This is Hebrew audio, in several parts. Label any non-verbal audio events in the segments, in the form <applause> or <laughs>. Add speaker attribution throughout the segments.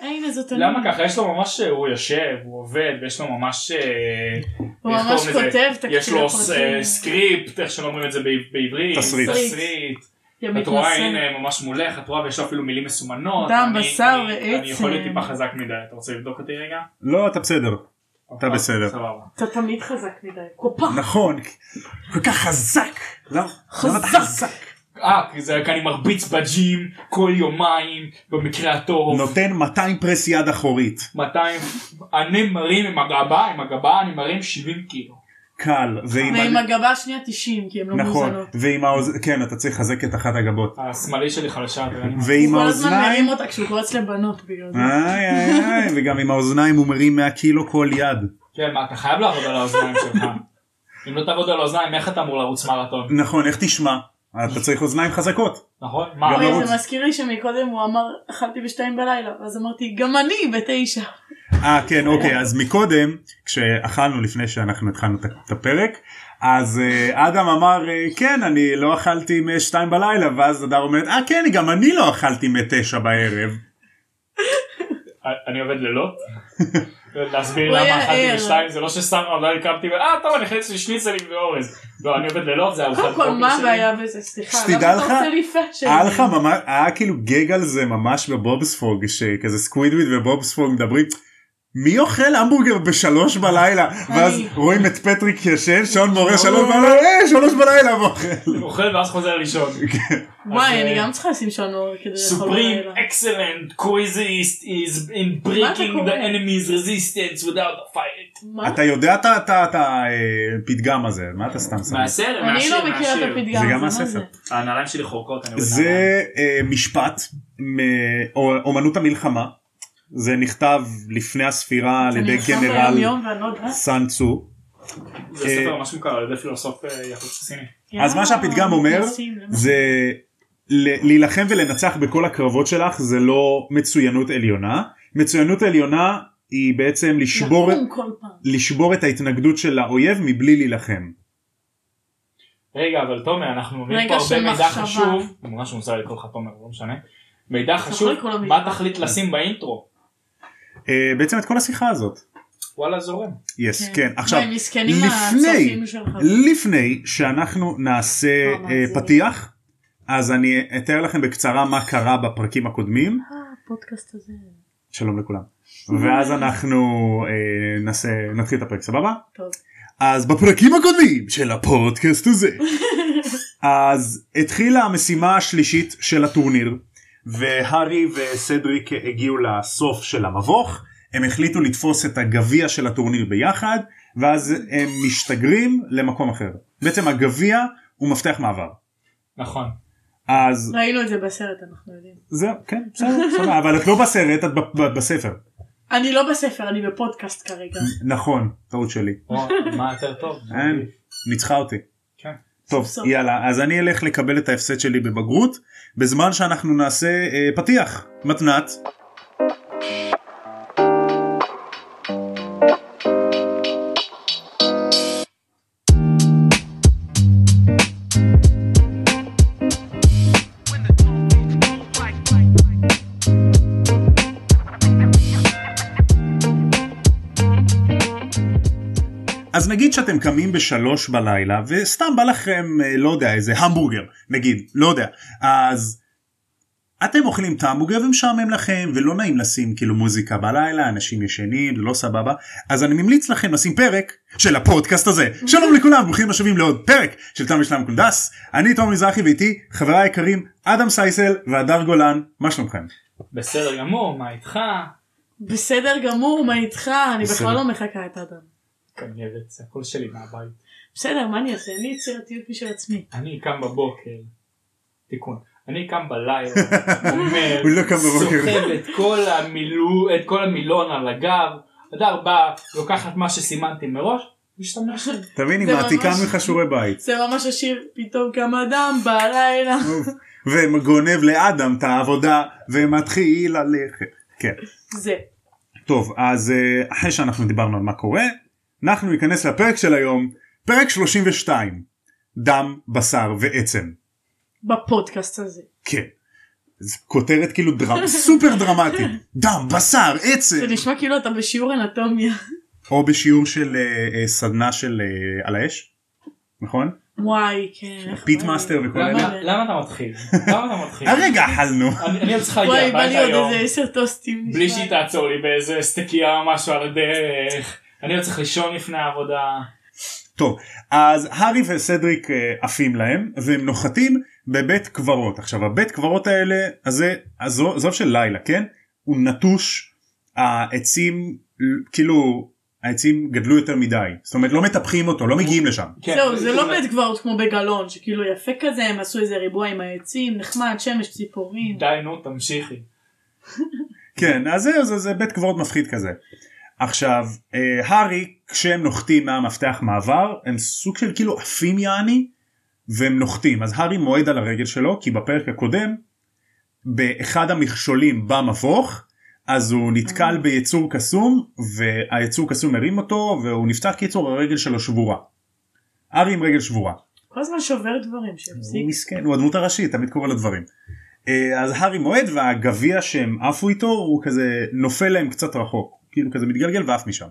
Speaker 1: הנה זאת אני.
Speaker 2: למה ככה? יש לו ממש, אה, הוא יושב, הוא עובד, ויש לו ממש... אה,
Speaker 1: הוא
Speaker 2: איך
Speaker 1: ממש
Speaker 2: קוראים לזה?
Speaker 1: כותב תקציב
Speaker 2: יש לו ס-
Speaker 1: הפרקים.
Speaker 2: אה, סקריפט, איך שלא אומרים את זה בעב- בעברית.
Speaker 3: תסריט.
Speaker 2: תסריט.
Speaker 1: יא
Speaker 2: את רואה
Speaker 1: מתנשא.
Speaker 2: הנה ממש מולך, את רואה ויש לו אפילו מילים מסומנות.
Speaker 1: דם,
Speaker 2: אני-
Speaker 1: בשר
Speaker 2: אני- אני
Speaker 1: ועצם.
Speaker 2: יכול להיות טיפה חזק מדי, אתה רוצה לבדוק אותי רגע?
Speaker 3: לא, אתה בסדר. אתה
Speaker 2: אוקיי,
Speaker 3: בסדר.
Speaker 2: סבבה.
Speaker 1: אתה תמיד חזק מדי. הופה.
Speaker 3: נכון. כל כך חזק. למה? למה אתה חזק?
Speaker 2: אה, כי זה היה כי אני מרביץ בג'ים כל יומיים, במקרה הטוב.
Speaker 3: נותן 200 פרס יד אחורית.
Speaker 2: 200. אני מרים עם הגבה, עם הגבה אני מרים 70 קילו.
Speaker 3: קל. ועם
Speaker 1: ועם
Speaker 3: ה-
Speaker 1: הגבה השנייה 90 כי הן לא
Speaker 3: נכון.
Speaker 1: מאוזנות.
Speaker 3: ועם האוז... כן, אתה צריך לחזק את אחת הגבות.
Speaker 2: השמאלי שלי חלשה. אתה יודע, אני-
Speaker 3: ועם
Speaker 1: הוא כל הזמן
Speaker 3: האוזניים... אה,
Speaker 1: מרים אותה כשהוא קורץ לבנות בגלל זה.
Speaker 3: איי איי איי, וגם עם האוזניים הוא מרים 100 קילו כל יד.
Speaker 2: כן, מה, אתה חייב לעבוד על האוזניים <laughs> שלך. אם לא תעבוד על האוזניים, איך אתה אמור לרוץ מרתון?
Speaker 3: נכון, איך תשמע? אתה צריך אוזניים חזקות.
Speaker 2: נכון? מה?
Speaker 3: גם
Speaker 1: אוי,
Speaker 3: לרוץ.
Speaker 1: זה מזכיר לי שמקודם הוא אמר אכלתי בשתיים בלילה ואז אמרתי גם אני בתשע.
Speaker 3: אה כן אוקיי אז מקודם כשאכלנו לפני שאנחנו התחלנו את- את הפרק אז אה, אדם אמר אה, כן אני לא אכלתי משתיים בלילה ואז הדר אומרת אה כן גם אני לא אכלתי מתשע בערב.
Speaker 2: אני עובד
Speaker 1: <laughs>
Speaker 2: לילות? להסביר
Speaker 1: הוא היה
Speaker 2: למה אכלתי
Speaker 1: ער.
Speaker 2: בשתיים זה לא שסתם עדיין קמתי ו- אה טוב אני אכניס לי שניצלים ואורז. לא אני עובד לילות זה ארוחת
Speaker 1: קודם כל
Speaker 2: בוקר
Speaker 1: מה
Speaker 2: שלי.
Speaker 1: הבעיה בזה? סליחה,
Speaker 3: שתדע
Speaker 1: למה אתה
Speaker 3: לך,
Speaker 1: עושה לי פאט שלי?
Speaker 3: היה לך ממש היה כאילו גג על זה ממש בבובספוג שכזה סקווידוויד ובובספוג מדברים. מי אוכל המבורגר בשלוש בלילה ואז
Speaker 1: אני.
Speaker 3: רואים את פטריק ישן שעון מורה שלוש בלילה "אה, שלוש בלילה הוא אוכל.
Speaker 2: <laughs> אוכל ואז חוזר לישון.
Speaker 1: וואי
Speaker 2: אז,
Speaker 1: אני
Speaker 2: אה,
Speaker 1: גם צריכה לשים שעון כדי לאכול
Speaker 2: Supreme
Speaker 1: בלילה.
Speaker 2: excellent craziest is in
Speaker 1: מה אתה
Speaker 2: breaking
Speaker 1: קורא?
Speaker 2: the enemy's resistance without a fight.
Speaker 1: מה?
Speaker 3: אתה יודע את ה- את ה- את הפתגם הזה מה אתה סתם שם?
Speaker 2: מהסרט,
Speaker 1: אני
Speaker 2: מהשיר,
Speaker 1: לא מכירה את
Speaker 2: מהשיר.
Speaker 1: הפתגם.
Speaker 3: זה גם
Speaker 1: מה
Speaker 3: הספר.
Speaker 2: הנעליים שלי חורקות. אני עובד נעליים.
Speaker 3: זה אה, משפט מאומנות המלחמה זה נכתב לפני הספירה על ידי
Speaker 1: אני נלחם
Speaker 3: גנרל
Speaker 1: ביום-יום ואני לא יודעת.
Speaker 3: סאן צו
Speaker 2: זה ספר ממש מוכר על ידי פילוסוף אה, יחד סיני.
Speaker 3: אז מה שהפתגם אומר
Speaker 1: מתנסים, למה?
Speaker 3: זה ל- להילחם ולנצח בכל הקרבות שלך זה לא מצוינות עליונה מצוינות עליונה היא בעצם לשבור
Speaker 1: לקום כל פעם.
Speaker 3: לשבור את ההתנגדות של האויב מבלי להילחם
Speaker 2: רגע אבל תומר אנחנו אומרים
Speaker 1: רגע
Speaker 2: פה הרבה
Speaker 1: של
Speaker 2: מידע
Speaker 1: מחשבה.
Speaker 2: חשוב. ממש מוזר לקרוא לך תומר לא משנה. מידע
Speaker 1: יכול
Speaker 2: חשוב
Speaker 1: לקרוא לו
Speaker 2: מה
Speaker 1: מידע.
Speaker 2: תחליט לשים באינטרו.
Speaker 3: אה, בעצם את כל השיחה הזאת.
Speaker 2: וואלה זורם.
Speaker 3: יס כן עכשיו
Speaker 1: וואי, מסכנים
Speaker 3: לפני
Speaker 1: הצופים שלך.
Speaker 3: לפני שאנחנו נעשה
Speaker 1: אה,
Speaker 3: אה,
Speaker 1: מאזינים.
Speaker 3: פתיח אז אני אתאר לכם בקצרה מה קרה בפרקים הקודמים
Speaker 1: אה, הפודקאסט הזה.
Speaker 3: שלום לכולם ואז אנחנו אה, נעשה נתחיל את הפרק סבבה
Speaker 1: טוב.
Speaker 3: אז בפרקים הקודמים של הפודקאסט הזה אז התחילה המשימה השלישית של הטורניר והארי וסדריק הגיעו לסוף של המבוך הם החליטו לתפוס את הגביע של הטורניר ביחד ואז הם משתגרים למקום אחר בעצם הגביע הוא מפתח מעבר
Speaker 2: נכון.
Speaker 3: אז
Speaker 1: ראינו את זה בסרט אנחנו יודעים.
Speaker 3: זהו כן בסדר סבבה אבל את לא בסרט את ב- ב- בספר
Speaker 1: אני לא בספר אני בפודקאסט כרגע.
Speaker 3: נכון טעות שלי
Speaker 2: או, מה יותר טוב.
Speaker 3: <laughs> אין, ניצחה אותי.
Speaker 2: כן.
Speaker 3: טוב
Speaker 1: סוף סוף.
Speaker 3: יאללה אז אני אלך לקבל את ההפסד שלי בבגרות בזמן שאנחנו נעשה אה, פתיח מתנת אז נגיד שאתם קמים בשלוש בלילה וסתם בא לכם אה, לא יודע איזה המבורגר נגיד לא יודע אז אתם אוכלים את ההמבורגר ומשעמם לכם ולא נעים לשים כאילו מוזיקה בלילה אנשים ישנים זה לא סבבה אז אני ממליץ לכם לשים פרק של הפודקאסט
Speaker 1: <laughs>
Speaker 3: הזה שלום לכולם ברוכים השבים לעוד פרק של תם ושלם קונדס אני תום מזרחי ואיתי חבריי היקרים אדם סייסל והדר גולן מה שלומכם
Speaker 2: בסדר גמור מה איתך?
Speaker 1: בסדר גמור מה איתך אני
Speaker 3: בסדר.
Speaker 1: בכלל לא מחכה את אדם.
Speaker 2: כנראה זה הקול שלי מהבית.
Speaker 1: בסדר מה אני אעשה אני יצירתיות בשביל עצמי.
Speaker 2: אני קם בבוקר. תיקון. אני קם
Speaker 3: <laughs>
Speaker 2: בלילה, אומר,
Speaker 3: הוא לא קם בבוקר.
Speaker 2: סוחב את כל המילו- את כל המילון על הגב, הדר בא, לוקחת מה שסימנתי מראש,
Speaker 1: <laughs>
Speaker 2: משתמשת.
Speaker 3: תבין היא
Speaker 1: זה
Speaker 3: מעתיקה
Speaker 1: ממש-
Speaker 3: ממך שיעורי בית
Speaker 1: זה ממש השיר פתאום קם אדם בלילה.
Speaker 3: וגונב לאדם את העבודה ומתחיל ללכת. כן.
Speaker 1: זה.
Speaker 3: טוב אז אה, אחרי שאנחנו דיברנו על מה קורה אנחנו ניכנס לפרק של היום פרק 32 דם בשר ועצם
Speaker 1: בפודקאסט הזה.
Speaker 3: כן זו כותרת כאילו
Speaker 1: <laughs>
Speaker 3: דרמ... סופר דרמטית. דם, בשר, עצם.
Speaker 1: זה נשמע כאילו אתה בשיעור אנטומיה.
Speaker 3: או בשיעור של אה, אה, סדנה של אה, על האש. נכון?
Speaker 1: וואי, כן. איך
Speaker 3: פיט
Speaker 1: בא לי.
Speaker 3: מאסטר וכל
Speaker 1: למה?
Speaker 3: אלה.
Speaker 2: למה למה אתה מתחיל? למה אתה
Speaker 1: כן.
Speaker 3: <laughs>
Speaker 2: מתחיל?
Speaker 3: הרגע אה, אכלנו.
Speaker 2: אני אני עוד צריך להגיע
Speaker 1: וואי, בא לי
Speaker 2: הביתה
Speaker 1: עוד
Speaker 2: היום,
Speaker 1: איזה עשר טוסטים.
Speaker 2: בלי
Speaker 1: נשמע.
Speaker 2: שהיא תעצור לי באיזה סטקייה או משהו על הדרך. אני עוד צריך לישון לפני העבודה.
Speaker 3: טוב, אז הארי וסדריק אה, עפים להם והם נוחתים בבית קברות. עכשיו הבית קברות האלה, אז זה עזוב עזוב של לילה, כן? הוא נטוש, העצים כאילו העצים גדלו יותר מדי. זאת אומרת לא מטפחים אותו, לא מגיעים לשם.
Speaker 2: כן,
Speaker 1: זהו, זה לא
Speaker 2: כאילו,
Speaker 1: בית קברות כמו בגלון, שכאילו יפה כזה, הם עשו איזה ריבוע עם העצים, נחמד, שמש, ציפורים.
Speaker 2: די נו תמשיכי.
Speaker 3: כן, אז זהו, זה, זה בית קברות מפחיד כזה. עכשיו, אה, הארי, כשהם נוחתים מהמפתח מעבר, הם סוג של כאילו עפים יעני, והם נוחתים. אז הארי מועד על הרגל שלו, כי בפרק הקודם, באחד המכשולים במבוך, אז הוא נתקל ביצור קסום, והיצור קסום הרים אותו, והוא נפצע קיצור, הרגל שלו שבורה. הארי עם רגל שבורה.
Speaker 1: כל הזמן שובר דברים,
Speaker 3: הוא
Speaker 1: שיפסיק.
Speaker 3: מסכן, הוא הדמות הראשית, תמיד קורא לדברים. אה, אז הארי מועד והגביע שהם עפו איתו הוא כזה נופל להם קצת רחוק, כאילו כזה מתגלגל ועף משם.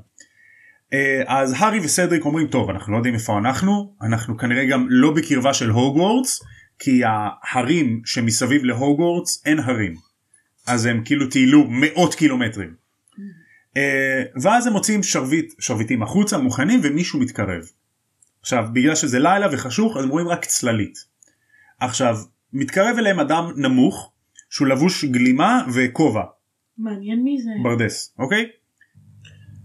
Speaker 3: אה, אז הארי וסדריק אומרים טוב אנחנו לא יודעים איפה אנחנו, אנחנו כנראה גם לא בקרבה של הוגוורטס, כי ההרים שמסביב להוגוורטס אין הרים. אז הם כאילו טיילו מאות קילומטרים. אה, ואז הם מוצאים שרביט, שרביטים החוצה מוכנים ומישהו מתקרב. עכשיו בגלל שזה לילה וחשוך אז הם רואים רק צללית. עכשיו מתקרב אליהם אדם נמוך שהוא לבוש גלימה וכובע
Speaker 1: מעניין מי זה.
Speaker 3: ברדס אוקיי.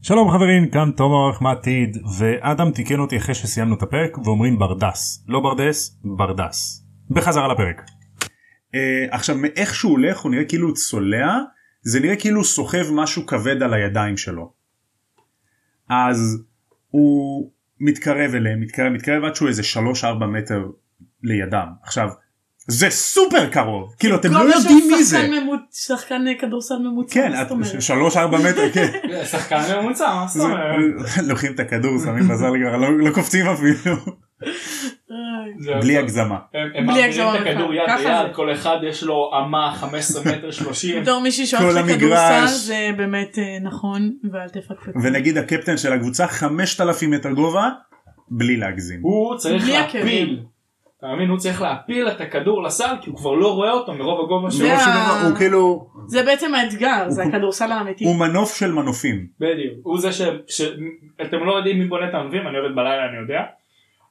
Speaker 3: שלום חברים כאן תום אורך מעתיד ואדם תיקן אותי אחרי שסיימנו את הפרק ואומרים ברדס לא ברדס ברדס בחזרה לפרק. אה, עכשיו מאיך שהוא הולך הוא נראה כאילו הוא צולע זה נראה כאילו הוא סוחב משהו כבד על הידיים שלו. אז הוא מתקרב אליהם מתקרב מתקרב עד שהוא איזה 3-4 מטר לידם עכשיו זה סופר קרוב כאילו אתם לא
Speaker 1: כל השאר
Speaker 3: יודעים מי זה.
Speaker 1: שחקן ממוצ- שחקן אה, כדורסל ממוצע,
Speaker 3: כן,
Speaker 1: מה זאת אומרת?
Speaker 3: 3-4 מטר כן.
Speaker 2: אה, שחקן ממוצע מה זאת אומרת?
Speaker 3: זה- <laughs> לוקחים את הכדור שמים בזלגר לא לא קופצים אפילו
Speaker 1: איי.
Speaker 2: זהו,
Speaker 3: בלי
Speaker 2: זהו.
Speaker 3: הגזמה.
Speaker 2: הם הם
Speaker 1: בלי
Speaker 2: מעבירים את
Speaker 1: הגזמה
Speaker 2: הכדור
Speaker 1: בכלל.
Speaker 2: יד
Speaker 1: ככה
Speaker 2: ליד,
Speaker 1: זה.
Speaker 2: כל אחד יש לו אמה 15 מטר 30.
Speaker 1: בתור מישהי שאוהב
Speaker 3: כל
Speaker 1: את
Speaker 3: המגרש.
Speaker 1: כדורסל זה באמת אה, נכון ואל תפקפקו.
Speaker 3: ונגיד הקפטן של הקבוצה 5,000 מטר גובה בלי להגזים.
Speaker 2: הוא צריך
Speaker 1: בלי
Speaker 2: להפיל.
Speaker 1: עקבים.
Speaker 2: אתה מבין? הוא צריך להפיל את הכדור לסל כי הוא כבר לא רואה אותו מרוב הגובה שלו.
Speaker 1: זה
Speaker 3: מרוב שהוא
Speaker 1: ה-
Speaker 3: גבוה,
Speaker 2: אה.
Speaker 3: הוא כאילו
Speaker 1: זה בעצם האתגר זה
Speaker 3: הוא-
Speaker 1: הכדורסל האמיתי.
Speaker 3: הוא מנוף של מנופים.
Speaker 2: בדיוק. הוא זה ש... ש... אתם לא יודעים מי בונה את הענבים, אני עובד בלילה, אני יודע.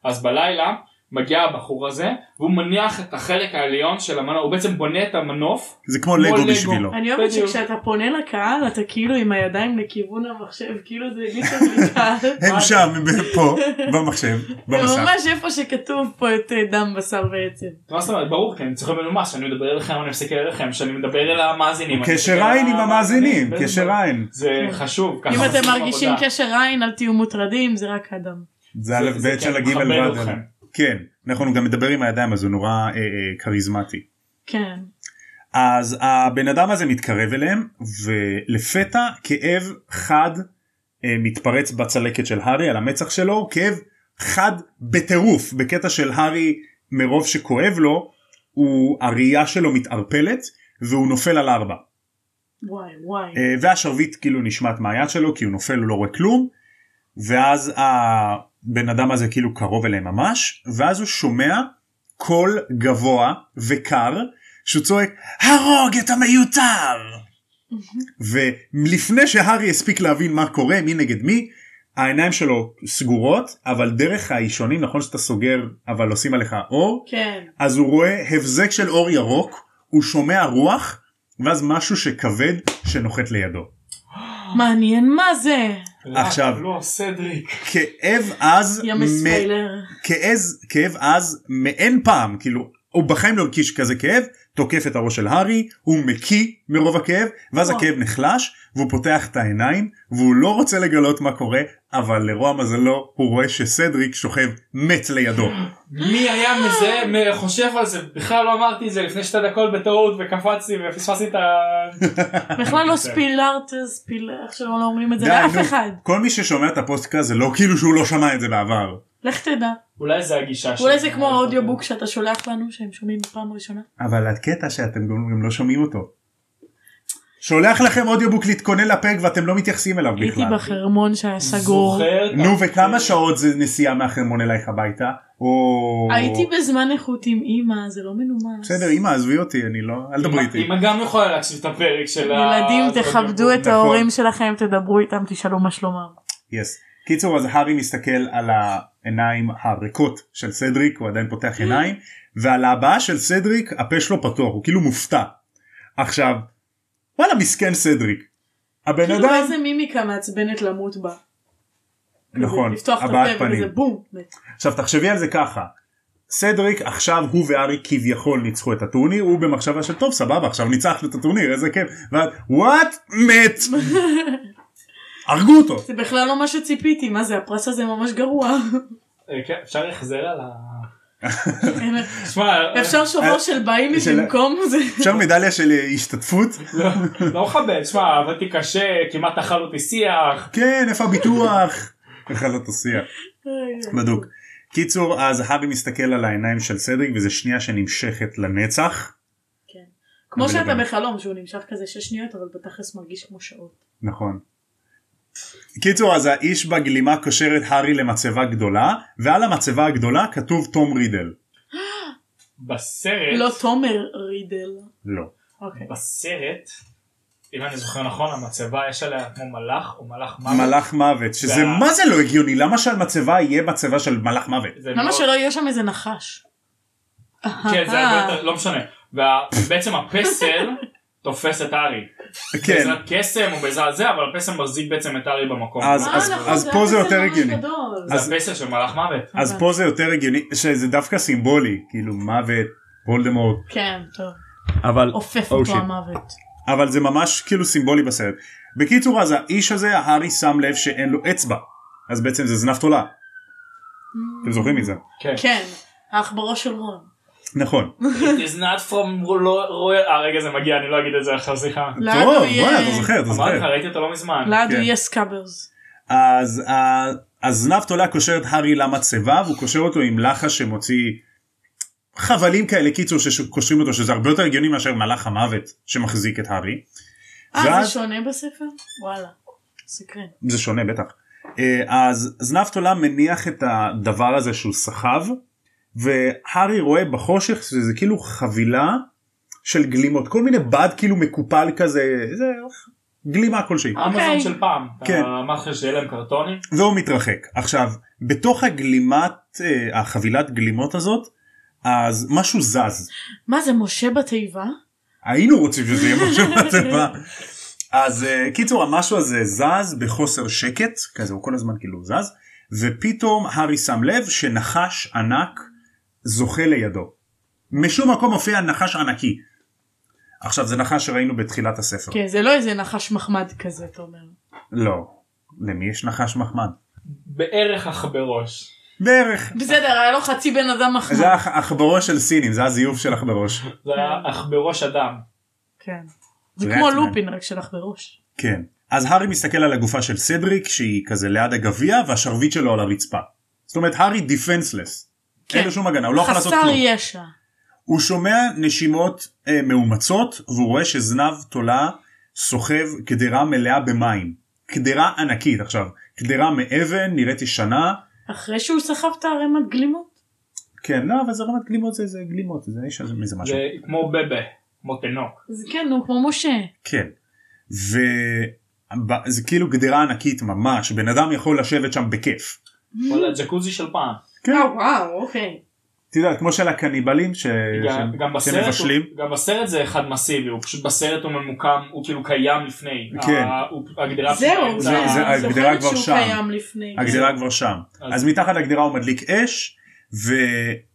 Speaker 2: אז בלילה מגיע הבחור הזה, והוא מניח את החלק העליון של המנוף, הוא בעצם בונה את המנוף.
Speaker 3: זה כמו
Speaker 2: לגו.
Speaker 3: לגו בשבילו.
Speaker 1: אני אוהבת
Speaker 2: בדיוק.
Speaker 1: שכשאתה פונה לקהל אתה כאילו עם הידיים לכיוון המחשב כאילו זה הרגיש לי
Speaker 3: <laughs>
Speaker 1: קהל.
Speaker 3: הם שם, הם פה,
Speaker 2: <laughs>
Speaker 3: במחשב,
Speaker 1: זה
Speaker 3: במסך.
Speaker 1: ממש איפה שכתוב פה את אה, דם בשר ועצם.
Speaker 2: מה זאת אומרת? ברור, כי אני צריך מנומס, שאני מדבר אליכם, אני מסתכל אליכם, שאני מדבר אל המאזינים. אני מסתכל
Speaker 3: קשר
Speaker 2: על
Speaker 3: עין עם המאזינים,
Speaker 2: בדיוק.
Speaker 3: קשר עין.
Speaker 2: זה חשוב. ככה
Speaker 1: אם
Speaker 2: עושים
Speaker 1: אתם מרגישים
Speaker 2: עבודה.
Speaker 1: קשר עין אל תהיו מוטרדים זה רק הדם.
Speaker 3: זה א'
Speaker 2: זה
Speaker 3: ב' של
Speaker 2: כן,
Speaker 3: הגימל
Speaker 2: מכבד
Speaker 3: ועד
Speaker 2: אתכם.
Speaker 3: אליו. כן, נכון, הוא גם מדבר עם הידיים אז הוא נורא אה, אה, כריזמטי.
Speaker 1: כן.
Speaker 3: אז הבן אדם הזה מתקרב אליהם ולפתע כאב חד אה, מתפרץ בצלקת של הארי על המצח שלו כאב חד בטירוף בקטע של הארי מרוב שכואב לו הוא הראייה שלו מתערפלת והוא נופל על ארבע
Speaker 1: וואי וואי.
Speaker 3: אה, והשרביט כאילו נשמט מהיד שלו כי הוא נופל הוא לא רואה כלום ואז הבן אדם הזה כאילו קרוב אליהם ממש ואז הוא שומע קול גבוה וקר שהוא צועק הרוג את המיותר ולפני שהארי הספיק להבין מה קורה מי נגד מי העיניים שלו סגורות אבל דרך האישונים נכון שאתה סוגר אבל עושים עליך אור
Speaker 1: כן.
Speaker 3: אז הוא רואה הבזק של אור ירוק הוא שומע רוח ואז משהו שכבד שנוחת לידו.
Speaker 1: מעניין מה זה.
Speaker 3: עכשיו-
Speaker 2: לא, סדריק.
Speaker 3: כאב אז
Speaker 1: יא
Speaker 3: מ-
Speaker 1: מספיילר.
Speaker 3: כאז, כאב אז מאין פעם כאילו הוא בחיים לא הרגיש כזה כאב תוקף את הראש של הארי הוא מקיא מרוב הכאב ואז
Speaker 1: וואו.
Speaker 3: הכאב נחלש והוא פותח את העיניים והוא לא רוצה לגלות מה קורה אבל לרוע מזלו הוא רואה שסדריק שוכב מת לידו
Speaker 2: מי היה מזהה, מ- חושב על זה, בכלל לא אמרתי את זה לפני שתי דקות בטעות וקפצתי ופספסתי את ה...
Speaker 3: <laughs>
Speaker 1: בכלל לא ספילארט, ספיל... איך שלא אומרים את זה
Speaker 3: די,
Speaker 1: לאף
Speaker 3: נו.
Speaker 1: אחד.
Speaker 3: כל מי ששומע את הפוסטקאסט זה לא כאילו שהוא לא שמע את זה בעבר
Speaker 1: לך תדע.
Speaker 2: אולי זה הגישה לא
Speaker 1: אולי זה כמו האודיובוק שאתה שולח לנו שהם שומעים בפעם הראשונה.
Speaker 3: אבל הקטע שאתם גם, גם לא שומעים אותו. שולח לכם אודיובוק להתכונן לפרק ואתם לא מתייחסים אליו
Speaker 1: הייתי
Speaker 3: בכלל.
Speaker 1: בחרמון שהיה סגור.
Speaker 2: זוכר?
Speaker 3: נו וכמה שעות זה נסיעה מהחרמון אלייך הביתה? או...
Speaker 1: הייתי בזמן איכות עם אימא זה לא מנומס.
Speaker 3: בסדר אמא עזבי אותי אני לא אל דברי איתי.
Speaker 2: אמא גם יכולה להקשיב את הפרק של ה-
Speaker 1: ילדים
Speaker 2: אה, זה לא
Speaker 1: תכבדו
Speaker 2: אודיובוק.
Speaker 1: את ההורים שלכם תדברו איתם תשאלו מה שלומם.
Speaker 3: יס. קיצור אז הארי מסתכל על העיניים הריקות של סדריק הוא עדיין פותח
Speaker 1: Mm-hmm.
Speaker 3: עיניים ועל הבעה של סדריק הפה שלו פתוח הוא כאילו מופתע. עכשיו וואלה מסכן סדריק. הבן
Speaker 1: כאילו
Speaker 3: אדם
Speaker 1: איזה מימיקה מעצבנת למות בה. כזה
Speaker 3: נכון
Speaker 1: לפתוח את
Speaker 3: הבעת
Speaker 1: הפה
Speaker 3: פנים.
Speaker 1: וזה בום. מת.
Speaker 3: עכשיו תחשבי על זה ככה. סדריק עכשיו הוא והארי כביכול ניצחו את הטורניר הוא במחשבה של טוב סבבה עכשיו ניצחנו את הטורניר איזה כיף ואת וואט מת הרגו אותו
Speaker 1: זה בכלל לא מה שציפיתי מה זה הפרס הזה ממש גרוע. <laughs>
Speaker 2: אה, כן, אפשר החזר על ה...
Speaker 1: אין-
Speaker 2: שמע, אה,
Speaker 1: אפשר שובר של באים לי
Speaker 3: של-
Speaker 1: במקום זה.
Speaker 3: אפשר מדליה של אה, השתתפות
Speaker 2: לא- לא מכבד, שמע, עבדתי קשה, כמעט אכל אותי שיח.
Speaker 3: כן איפה הביטוח בכלל לא תוסיע
Speaker 1: אה,
Speaker 3: בדוק קיצור אז הארי מסתכל על העיניים של סדריק וזה שנייה שנמשכת לנצח
Speaker 1: כן. כמו
Speaker 3: אבל
Speaker 1: שאתה
Speaker 3: לגמרי.
Speaker 1: בחלום שהוא נמשך כזה שש שניות אבל בתכלס מרגיש כמו שעות.
Speaker 3: נכון. קיצור אז האיש בגלימה קושר את הארי למצבה גדולה ועל המצבה הגדולה כתוב תום רידל
Speaker 2: בסרט,
Speaker 1: לא תומר רידל.
Speaker 3: לא.
Speaker 1: אוקיי.
Speaker 2: בסרט, אם אני זוכר נכון, המצבה יש עליה כמו מלאך או מלאך מוות.
Speaker 3: מלאך מוות שזה
Speaker 2: וה-
Speaker 3: מה זה לא הגיוני למה שעל מצבה יהיה מצבה של מלאך מוות
Speaker 2: <laughs> זה
Speaker 1: למה
Speaker 2: מאוד-
Speaker 1: שלא יהיה שם איזה נחש? אה.
Speaker 2: כן, זה הרבה
Speaker 1: אהה.
Speaker 2: יותר, לא משנה. ובעצם הפסל <laughs> תופס את ארי.
Speaker 3: כן
Speaker 2: בעזרת קסם או בעזרת זה, אבל הפסל מחזיק בעצם את ארי במקום.
Speaker 1: אה,
Speaker 3: אז-
Speaker 1: נכון,
Speaker 3: אז
Speaker 1: זה
Speaker 3: פה
Speaker 1: היה
Speaker 3: זה
Speaker 1: כזה
Speaker 3: יותר
Speaker 1: ממש
Speaker 3: הגיוני.
Speaker 1: גדול.
Speaker 3: אז-
Speaker 2: זה הפסל של מלאך מוות.
Speaker 3: אז פה זה יותר הגיוני שזה דווקא סימבולי כאילו מוות וולדמורט
Speaker 1: כן, טוב.
Speaker 3: אבל
Speaker 1: עופף
Speaker 3: Oh,
Speaker 1: אותו
Speaker 3: shit.
Speaker 1: המוות.
Speaker 3: אבל זה ממש כאילו סימבולי בסרט. בקיצור אז האיש הזה הארי שם לב שאין לו אצבע אז בעצם זה זנב תולה
Speaker 1: Mm.
Speaker 3: אתם זוכרים מזה
Speaker 2: כן.
Speaker 1: כן, האח בראש של רון.
Speaker 3: נכון
Speaker 2: It is not from ro- royal... אה רגע זה מגיע אני לא אגיד את זה עכשיו סליחה.
Speaker 3: <laughs>
Speaker 1: לאן
Speaker 3: טוב
Speaker 1: הוא יהיה-
Speaker 3: בוא'נה, אתה זוכר אתה
Speaker 2: אמרתי לך
Speaker 3: זוכר
Speaker 2: ראיתי אותו לא מזמן.
Speaker 1: לעד
Speaker 3: כן.
Speaker 1: הוא יהיה סקאברס.
Speaker 3: אז אה, ה- הזנב תולה קושר את הארי למצבה והוא קושר אותו עם לחש שמוציא חבלים כאלה קיצור שקושרים אותו שזה הרבה יותר הגיוני מאשר מלאך המוות שמחזיק את הארי
Speaker 1: אה,
Speaker 3: ואז-
Speaker 1: זה שונה בספר? וואלה. סקרן.
Speaker 3: זה שונה בטח. אה, אז זנב תולה מניח את הדבר הזה שהוא סחב והארי רואה בחושך שזה כאילו חבילה של גלימות כל מיני בד כאילו מקופל כזה זה גלימה כלשהי
Speaker 2: אמזון
Speaker 1: אוקיי.
Speaker 2: של פעם.
Speaker 3: כן.
Speaker 2: אתה אמרת שיהיה להם קרטונים.
Speaker 3: והוא לא מתרחק עכשיו בתוך הגלימת אה, החבילת גלימות הזאת אז משהו זז
Speaker 1: מה זה משה בתיבה?
Speaker 3: היינו רוצים שזה יהיה משהו בצבא. אז אה, קיצור המשהו הזה זז בחוסר שקט כזה הוא כל הזמן כאילו זז ופתאום הארי שם לב שנחש ענק זוכה לידו. משום מקום מופיע נחש ענקי. עכשיו זה נחש שראינו בתחילת הספר.
Speaker 1: כן, זה לא איזה נחש מחמד כזה, אתה אומר.
Speaker 3: לא. למי יש נחש מחמד?
Speaker 2: בערך אך בראש.
Speaker 3: בערך.
Speaker 1: בסדר, היה לו חצי בן אדם <laughs>
Speaker 3: זה
Speaker 1: מחמד.
Speaker 3: הח- עכברוש של סינים זה הזיוף של עכברוש.
Speaker 2: זה היה אך בראש אדם.
Speaker 1: כן. זה
Speaker 3: זה
Speaker 1: כמו
Speaker 3: עצבן.
Speaker 1: לופין רק שלך בראש.
Speaker 3: כן. אז הארי מסתכל על הגופה של סדריק שהיא כזה ליד הגביע והשרביט שלו על הרצפה. זאת אומרת הארי דיפנסלס.
Speaker 1: כן.
Speaker 3: אין לו שום הגנה הוא לא יכול לעשות
Speaker 1: חסר
Speaker 3: כלום.
Speaker 1: ישע.
Speaker 3: הוא שומע נשימות אה, מאומצות והוא רואה שזנב תולה סוחב קדרה מלאה במים. קדרה ענקית עכשיו קדרה מאבן נראית ישנה.
Speaker 1: אחרי שהוא סחב את הערימת גלימות?
Speaker 3: כן לא אבל זה רמת גלימות זה, זה גלימות זה יש מזה משהו.
Speaker 2: זה כמו בבה. כמו תינוק.
Speaker 1: אז כן, הוא כמו משה.
Speaker 3: כן. וזה כאילו גדרה ענקית ממש בן אדם יכול לשבת שם בכיף.
Speaker 2: וואלה ג'קוזי של פעם.
Speaker 3: כן.
Speaker 1: אה, וואו, אוקיי.
Speaker 3: את יודעת כמו של הקניבלים ש...
Speaker 2: גם-
Speaker 3: ש-
Speaker 2: גם בסרט
Speaker 3: שמבשלים.
Speaker 2: הוא- גם בסרט זה אחד מסיבי. הוא פשוט בסרט הוא ממוקם. הוא כאילו קיים לפני.
Speaker 3: כן.
Speaker 2: ה- הוא- הגדרה.
Speaker 1: זהו,
Speaker 2: זה-
Speaker 1: זהו,
Speaker 3: זה-
Speaker 1: אני
Speaker 3: הגדרה
Speaker 1: זוכרת
Speaker 3: כבר
Speaker 1: שהוא
Speaker 3: שם.
Speaker 1: קיים לפני.
Speaker 3: הגדרה כבר שם.
Speaker 2: אז-
Speaker 3: אז מתחת לגדרה הוא מדליק אש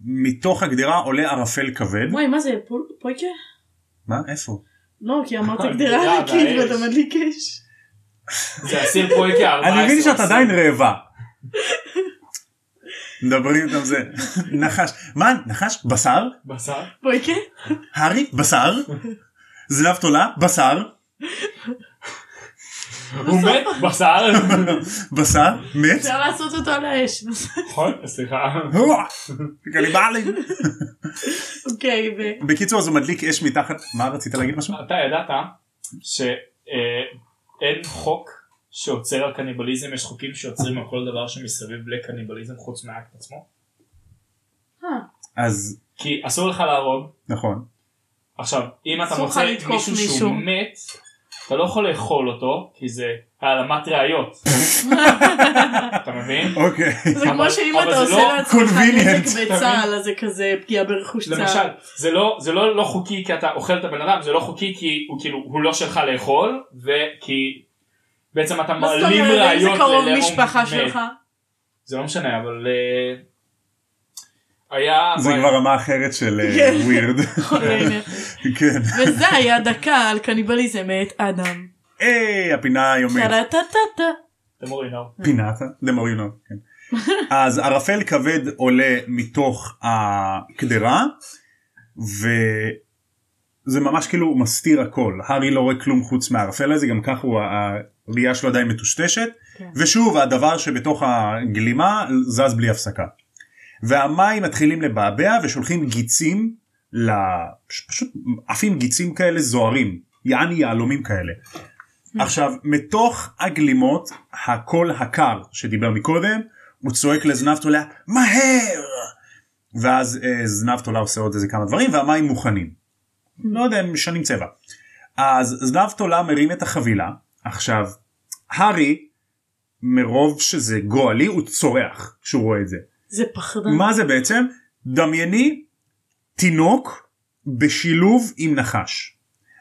Speaker 3: ומתוך הגדרה עולה ערפל כבד.
Speaker 1: וואי, מה זה, פול- פויקה?
Speaker 3: מה? איפה?
Speaker 1: לא, כי
Speaker 3: <laughs>
Speaker 1: אמרת
Speaker 2: הגדרה
Speaker 1: גדרה
Speaker 3: אה,
Speaker 1: ענקית
Speaker 2: והאש.
Speaker 1: ואתה מדליק אש.
Speaker 2: זה אסיר פויקי 14.
Speaker 3: אני מבין שאת
Speaker 2: אסיר. <laughs>
Speaker 3: עדיין רעבה. מדברים איתם זה. נחש. מה? נחש? בשר?
Speaker 2: בשר.
Speaker 1: פויקה?
Speaker 3: הארי? בשר? זנב תולה? בשר?
Speaker 2: הוא מת
Speaker 3: <laughs>
Speaker 2: בשר.
Speaker 3: בשר? מת?
Speaker 1: אפשר לעשות אותו על האש.
Speaker 2: נכון? סליחה.
Speaker 3: הואה, גליבלי.
Speaker 1: אוקיי, ו...
Speaker 3: בקיצור אז הוא מדליק אש מתחת מה רצית להגיד משהו?
Speaker 1: כן.
Speaker 2: אתה ידעת שאין חוק שעוצר על קניבליזם, יש חוקים שעוצרים על כל דבר שמסביב לקניבליזם חוץ מהאקט עצמו.
Speaker 1: אה,
Speaker 3: אז
Speaker 2: כי אסור לך להרוג,
Speaker 3: נכון
Speaker 2: עכשיו אם אתה
Speaker 1: אסור לך
Speaker 2: מוצא
Speaker 1: לתקוף
Speaker 2: מישהו
Speaker 1: מישהו.
Speaker 2: שהוא מת, אתה לא יכול לאכול אותו, כי זה העלמת ראיות.
Speaker 1: <laughs>
Speaker 2: אתה מבין?
Speaker 3: אוקיי
Speaker 1: זה כמו
Speaker 2: אבל-
Speaker 1: שאם
Speaker 2: אבל
Speaker 1: אתה
Speaker 2: זה
Speaker 1: עושה
Speaker 2: לא
Speaker 1: לעצמך
Speaker 3: convenient,
Speaker 1: נזק
Speaker 2: אתה
Speaker 1: בצה"ל, אז זה כזה פגיעה ברכוש צה"ל.
Speaker 2: למשל זה לא זה לא לא חוקי כי אתה אוכל את הבן אדם זה לא חוקי כי הוא כאילו הוא לא שלך לאכול וכי בעצם אתה
Speaker 1: מה זאת
Speaker 2: מעלים
Speaker 1: אומרת, אם
Speaker 2: ראיות
Speaker 1: זה קרוב
Speaker 2: ללאום
Speaker 1: משפחה
Speaker 2: מת.
Speaker 1: שלך?
Speaker 2: זה לא משנה אבל אה, היה
Speaker 3: זה
Speaker 2: וואי,
Speaker 3: כבר רמה אחרת של אה,
Speaker 1: כן.
Speaker 3: ווירד
Speaker 1: כל
Speaker 3: <laughs>
Speaker 1: העניין.
Speaker 3: כן
Speaker 1: וזה היה דקה על קניבליזם מאת אדם.
Speaker 3: היי הפינה היומית
Speaker 1: טה-טה-טה-טה.
Speaker 2: אתם רואים, לא.
Speaker 3: פינת דמריונות. כן. אז ערפל כבד עולה מתוך הקדרה וזה ממש כאילו מסתיר הכל הארי לא רואה כלום חוץ מהערפל הזה גם ככה הוא ה- הראייה שלו עדיין מטושטשת
Speaker 1: כן.
Speaker 3: ושוב הדבר שבתוך הגלימה זז בלי הפסקה. והמים מתחילים לבעבע ושולחים גיצים ל... פשוט עפים גיצים כאלה זוהרים יעני יהלומים כאלה. עכשיו מתוך הגלימות הקול הקר שדיבר מקודם הוא צועק לזנב תולה מהר ואז אה, זנב תולה עושה עוד איזה כמה דברים והמים מוכנים. לא יודע הם משנים צבע. אז זנב תולה מרים את החבילה עכשיו הארי מרוב שזה גועלי הוא צורח כשהוא רואה את זה.
Speaker 1: זה פחדן.
Speaker 3: מה זה בעצם? דמייני תינוק בשילוב עם נחש.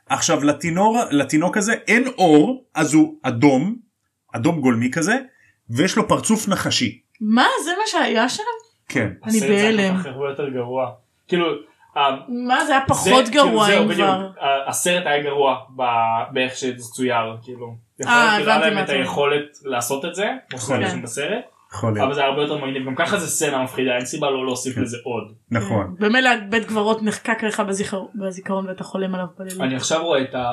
Speaker 3: עכשיו לתינור, לתינוק הזה אין אור אז הוא אדום, אדום גולמי כזה, ויש לו פרצוף נחשי.
Speaker 1: מה? זה מה שהיה שם?
Speaker 3: כן.
Speaker 1: אני
Speaker 2: הסרט זה
Speaker 1: בהלם.
Speaker 2: היה כל כך הרבה יותר גרוע כאילו ה-
Speaker 1: מה זה היה
Speaker 2: זה-
Speaker 1: פחות
Speaker 2: כאילו,
Speaker 1: גרוע
Speaker 2: זהו,
Speaker 1: אם
Speaker 2: בדיוק.
Speaker 1: כבר.
Speaker 2: ה- הסרט היה גרוע ב- באיך שזה צויר כאילו. יכול
Speaker 1: אה,
Speaker 2: להיות כאילו היה
Speaker 1: הבנתי
Speaker 2: להם
Speaker 1: מה
Speaker 2: את
Speaker 1: אתה אומר.
Speaker 2: היכולת לעשות את זה כמו
Speaker 3: נכון. כן.
Speaker 2: שזה בסרט
Speaker 3: יכול להיות.
Speaker 2: אבל זה הרבה יותר מגניב גם ככה זה סצנה מפחידה אין סיבה לא
Speaker 3: כן.
Speaker 2: להוסיף לזה עוד.
Speaker 3: נכון.
Speaker 1: כן. במילא בית קברות נחקק לך בזיכר- בזיכרון ואתה חולם עליו בלילות.
Speaker 2: אני עכשיו רואה את, ה...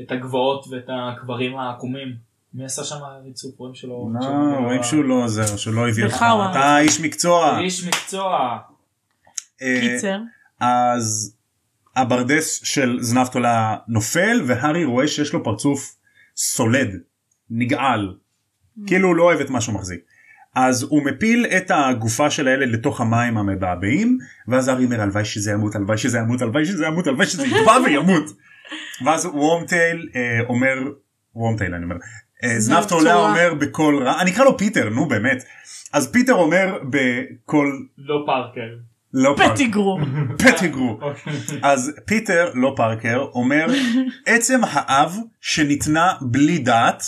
Speaker 2: את הגבעות ואת הקברים העקומים. מי עשה שם ריצוף? רואים שלא...
Speaker 3: לא, רואים שהוא לא עוזר, שהוא לא הביא אותך.
Speaker 1: בחאווה.
Speaker 3: אתה איש מקצוע.
Speaker 2: איש מקצוע.
Speaker 3: אה,
Speaker 1: קיצר.
Speaker 3: אז הברדס של זנב תולה נופל והארי רואה שיש לו פרצוף סולד, נגעל, כאילו הוא לא אוהב את מה שהוא מחזיק. אז הוא מפיל את הגופה של הילד לתוך המים המבעבעים ואז הארי אומר הלוואי שזה ימות הלוואי שזה ימות הלוואי שזה ימות הלוואי שזה יטבע וימות. ואז וורמטייל אה, אומר וורמטייל אני אומר אה, זנב
Speaker 1: זנב
Speaker 3: תולה
Speaker 1: תולה.
Speaker 3: אומר בקול רע אני אקרא לו פיטר נו באמת אז פיטר אומר בקול
Speaker 2: לא פארקר.
Speaker 3: לא פרק,
Speaker 1: פטיגרו.
Speaker 2: אוקיי.
Speaker 3: פטיגרו אז פיטר לא פארקר אומר עצם האב שניתנה בלי דעת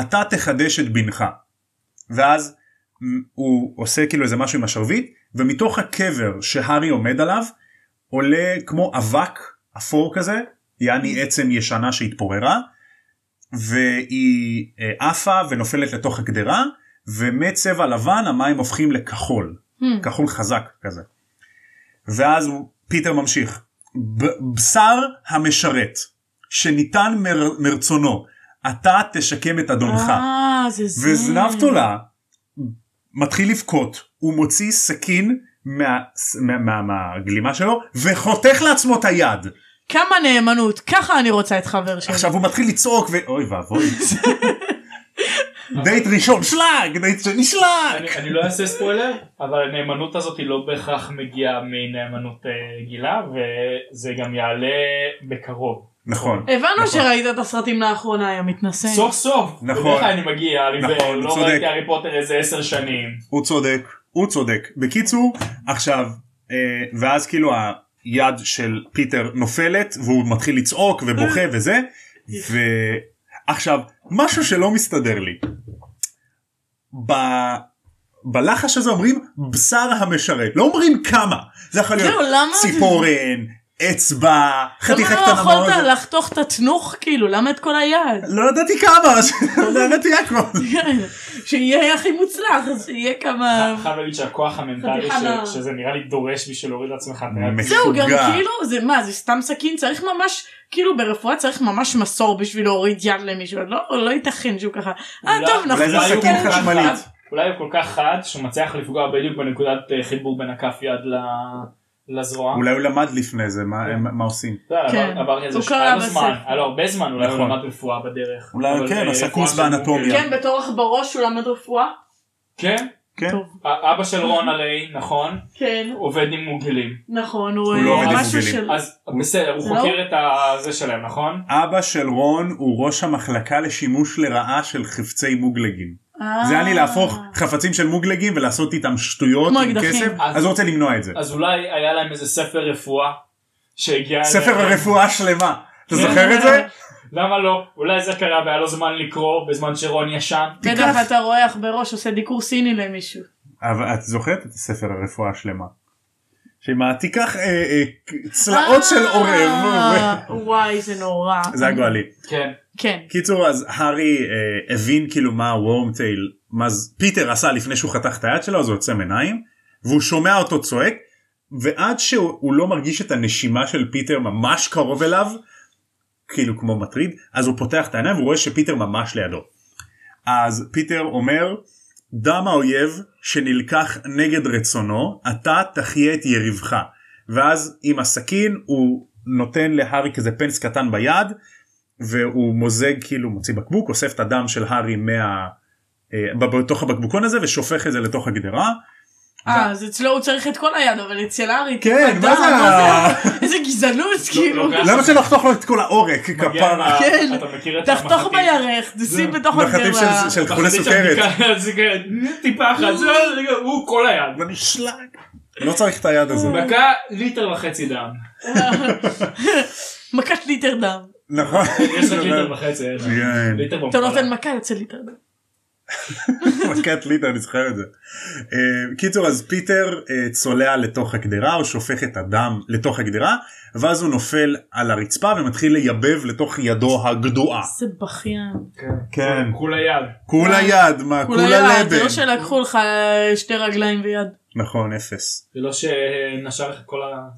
Speaker 3: אתה תחדש את בנך. ואז מ, הוא עושה כאילו איזה משהו עם השרביט ומתוך הקבר שהארי עומד עליו עולה כמו אבק אפור כזה יעני עצם ישנה שהתפוררה והיא אה, עפה ונופלת לתוך הקדרה ומצבע לבן המים הופכים לכחול
Speaker 1: Hmm.
Speaker 3: כחול חזק כזה. ואז הוא- פיטר ממשיך. "ב- בשר המשרת שניתן מר, מרצונו אתה תשקם את אדונך.
Speaker 1: אה, זה זה.
Speaker 3: וזנב תולה מתחיל לבכות הוא מוציא סכין מה, מה, מה, מהגלימה שלו וחותך לעצמו את היד.
Speaker 1: כמה נאמנות. ככה אני רוצה את חבר שלי.
Speaker 3: עכשיו הוא מתחיל לצעוק ואוי ואבוי. דייט ראשון שלג דייט שני שלג.
Speaker 2: אני, אני לא אעשה ספוילר אבל הנאמנות הזאת היא לא בהכרח מגיעה מנאמנות אה, רגילה וזה גם יעלה בקרוב.
Speaker 3: נכון.
Speaker 1: הבנו
Speaker 3: נכון.
Speaker 1: שראית את הסרטים לאחרונה, היה מתנשא.
Speaker 2: סוף סוף.
Speaker 3: נכון.
Speaker 2: בדרך כלל אני מגיע אני
Speaker 3: נכון,
Speaker 2: ו- לא
Speaker 3: צודק.
Speaker 2: ראיתי הארי פוטר איזה עשר שנים.
Speaker 3: הוא צודק, הוא צודק. בקיצור, עכשיו, אה, ואז כאילו היד של פיטר נופלת והוא מתחיל לצעוק ובוכה
Speaker 1: אה.
Speaker 3: וזה, ועכשיו, משהו שלא מסתדר לי. ב... בלחש הזה אומרים בשר המשרת, לא אומרים כמה, זה יכול להיות
Speaker 1: זהו, למה?
Speaker 3: ציפורן, אצבע, חתיכת
Speaker 1: למה לא
Speaker 3: קטנה באוזן.
Speaker 1: יכולת לחתוך את התנוך כאילו? למה את כל
Speaker 3: <laughs>
Speaker 1: היד?
Speaker 3: לא ידעתי כמה, לא אז נהניתי הכל.
Speaker 1: שיהיה הכי מוצלח, אז שיהיה כמה...
Speaker 2: חייב להגיד שהכוח המנטלי
Speaker 1: חתיכה
Speaker 2: ש-
Speaker 1: מה-
Speaker 2: שזה נראה לי דורש בשביל להוריד לעצמך את היד.
Speaker 3: מס-
Speaker 1: זהו, גם
Speaker 3: משוגע.
Speaker 1: כאילו, זה מה, זה סתם סכין, צריך ממש, כאילו ברפואה צריך ממש מסור בשביל להוריד יד למישהו, לא, לא ייתכן שהוא ככה, אה
Speaker 2: אולי-
Speaker 1: טוב,
Speaker 3: אולי
Speaker 1: אנחנו
Speaker 3: זה
Speaker 2: אולי
Speaker 1: נשים כאלה
Speaker 2: הוא כל
Speaker 3: סכין
Speaker 2: כך
Speaker 3: חשמלית.
Speaker 2: חד- אולי הוא כל כך חד שהוא מצליח לפגוע בדיוק בנקודת אה, חיבור בין הכף יד ל- לזרוע.
Speaker 3: אולי הוא למד לפני זה, מה- מה מה עושים?
Speaker 2: אתה יודע,
Speaker 1: כן.
Speaker 2: עבר- עברתי על זה
Speaker 1: הוא קרא
Speaker 2: שהיה לו
Speaker 1: בספר.
Speaker 2: זמן, היה לו הרבה זמן, אולי הוא
Speaker 3: נכון.
Speaker 2: למד רפואה בדרך.
Speaker 3: אולי,
Speaker 2: אבל,
Speaker 3: כן,
Speaker 2: אה,
Speaker 3: עשה
Speaker 2: רפואה של
Speaker 3: קורס באנטומיה.
Speaker 2: בונקר.
Speaker 1: כן, בתור עכברוש הוא למד רפואה,
Speaker 2: כן,
Speaker 3: כן.
Speaker 1: טוב,
Speaker 2: ה- אבא של רון
Speaker 3: אוקיי.
Speaker 2: עלי, נכון,
Speaker 1: כן,
Speaker 2: עובד עם מוגילים.
Speaker 1: נכון, הוא
Speaker 3: הוא לא
Speaker 1: אה,
Speaker 2: עובד עם
Speaker 1: משהו
Speaker 3: מובילים.
Speaker 1: של,
Speaker 2: אז בסדר, הוא
Speaker 1: זה לא-
Speaker 2: חוקר את ה- זה שלהם, נכון?
Speaker 3: אבא של רון הוא ראש המחלקה לשימוש לרעה של חפצי מוגלגים.
Speaker 1: אה.
Speaker 3: זה היה לי להפוך חפצים של מוגלגים ולעשות איתם שטויות
Speaker 1: כמו
Speaker 3: עם
Speaker 1: אקדחים.
Speaker 3: כסף,
Speaker 2: אז-
Speaker 3: אז הוא רוצה למנוע את זה.
Speaker 2: אז אולי היה להם איזה ספר רפואה שהגיע...
Speaker 3: ספר
Speaker 2: אליהם.
Speaker 3: הרפואה שלמה.
Speaker 2: כן.
Speaker 3: אתה זוכר את זה?
Speaker 2: למה לא? אולי זה קרה והיה לו זמן לקרוא בזמן שרון ישן.
Speaker 1: בטח
Speaker 3: תיקח.
Speaker 1: אתה רואה עכברוש עושה דיקור סיני למישהו,
Speaker 3: אבל את זוכרת את ספר הרפואה השלמה. שמה תיקח אה, אה, צלעות של עורב.
Speaker 1: אה, וואי זה נורא,
Speaker 3: ו- זה היה גואלי.
Speaker 2: כן.
Speaker 1: כן,
Speaker 3: קיצור אז הארי אה, הבין כאילו מה הוורמטייל מה ז- פיטר עשה לפני שהוא חתך את היד שלו אז הוא יוצא מעיניים והוא שומע אותו צועק ועד שהוא הוא לא מרגיש את הנשימה של פיטר ממש קרוב אליו כאילו כמו מטריד אז הוא פותח את העיניים והוא רואה שפיטר ממש לידו. אז פיטר אומר דם האויב שנלקח נגד רצונו אתה תחיה את יריבך ואז עם הסכין הוא נותן להארי כזה פנס קטן ביד והוא מוזג כאילו מוציא בקבוק אוסף את הדם של הארי מה... אה, ב- בתוך הבקבוקון הזה ושופך את זה לתוך הגדרה.
Speaker 1: אה אז אצלו הוא צריך את כל היד אבל אצל ארי,
Speaker 3: כן,
Speaker 1: אתה- לא
Speaker 3: מה זה ה-
Speaker 1: איזה גזענות
Speaker 2: לא,
Speaker 1: כאילו,
Speaker 2: לוקח-
Speaker 3: למה שלחתוך לו את כל העורק
Speaker 2: מגיע עם
Speaker 3: כפרה?
Speaker 2: ה-
Speaker 1: כן.
Speaker 2: אתה מכיר את
Speaker 1: תחתוך בירך, תשים
Speaker 2: זה-
Speaker 1: בתוך
Speaker 3: מחטים
Speaker 1: הגרה.
Speaker 3: של- של חולה סוכרת.
Speaker 2: סוכרת. כן, טיפה אחת, זה לא, הוא כל היד.
Speaker 3: ואני שלג. לא צריך את
Speaker 2: <laughs>
Speaker 3: היד הזה.
Speaker 2: דקה ליטר וחצי דם.
Speaker 1: מכת ליטר דם.
Speaker 3: נכון.
Speaker 2: יש רק
Speaker 3: <laughs>
Speaker 2: ליטר וחצי. אין.
Speaker 3: כן.
Speaker 2: ליטר
Speaker 1: אתה לא
Speaker 2: במכונה.
Speaker 1: נותן מכה יוצא ליטר דם.
Speaker 3: מכת ליטה אני זוכר את זה. אה, קיצור אז פיטר אה, צולע לתוך הגדרה הוא שופך את הדם לתוך הגדרה ואז הוא נופל על הרצפה ומתחיל לייבב לתוך ידו הגדועה.
Speaker 1: איזה בכיין.
Speaker 3: כן.
Speaker 2: כולה יד.
Speaker 3: כולה יד מה
Speaker 1: אולי
Speaker 3: כולה
Speaker 1: זה
Speaker 3: לבן.
Speaker 1: לא שלקחו לך שתי רגליים ויד. <laughs>
Speaker 3: נכון אפס.
Speaker 2: זה לא שנשר לך את כל ה...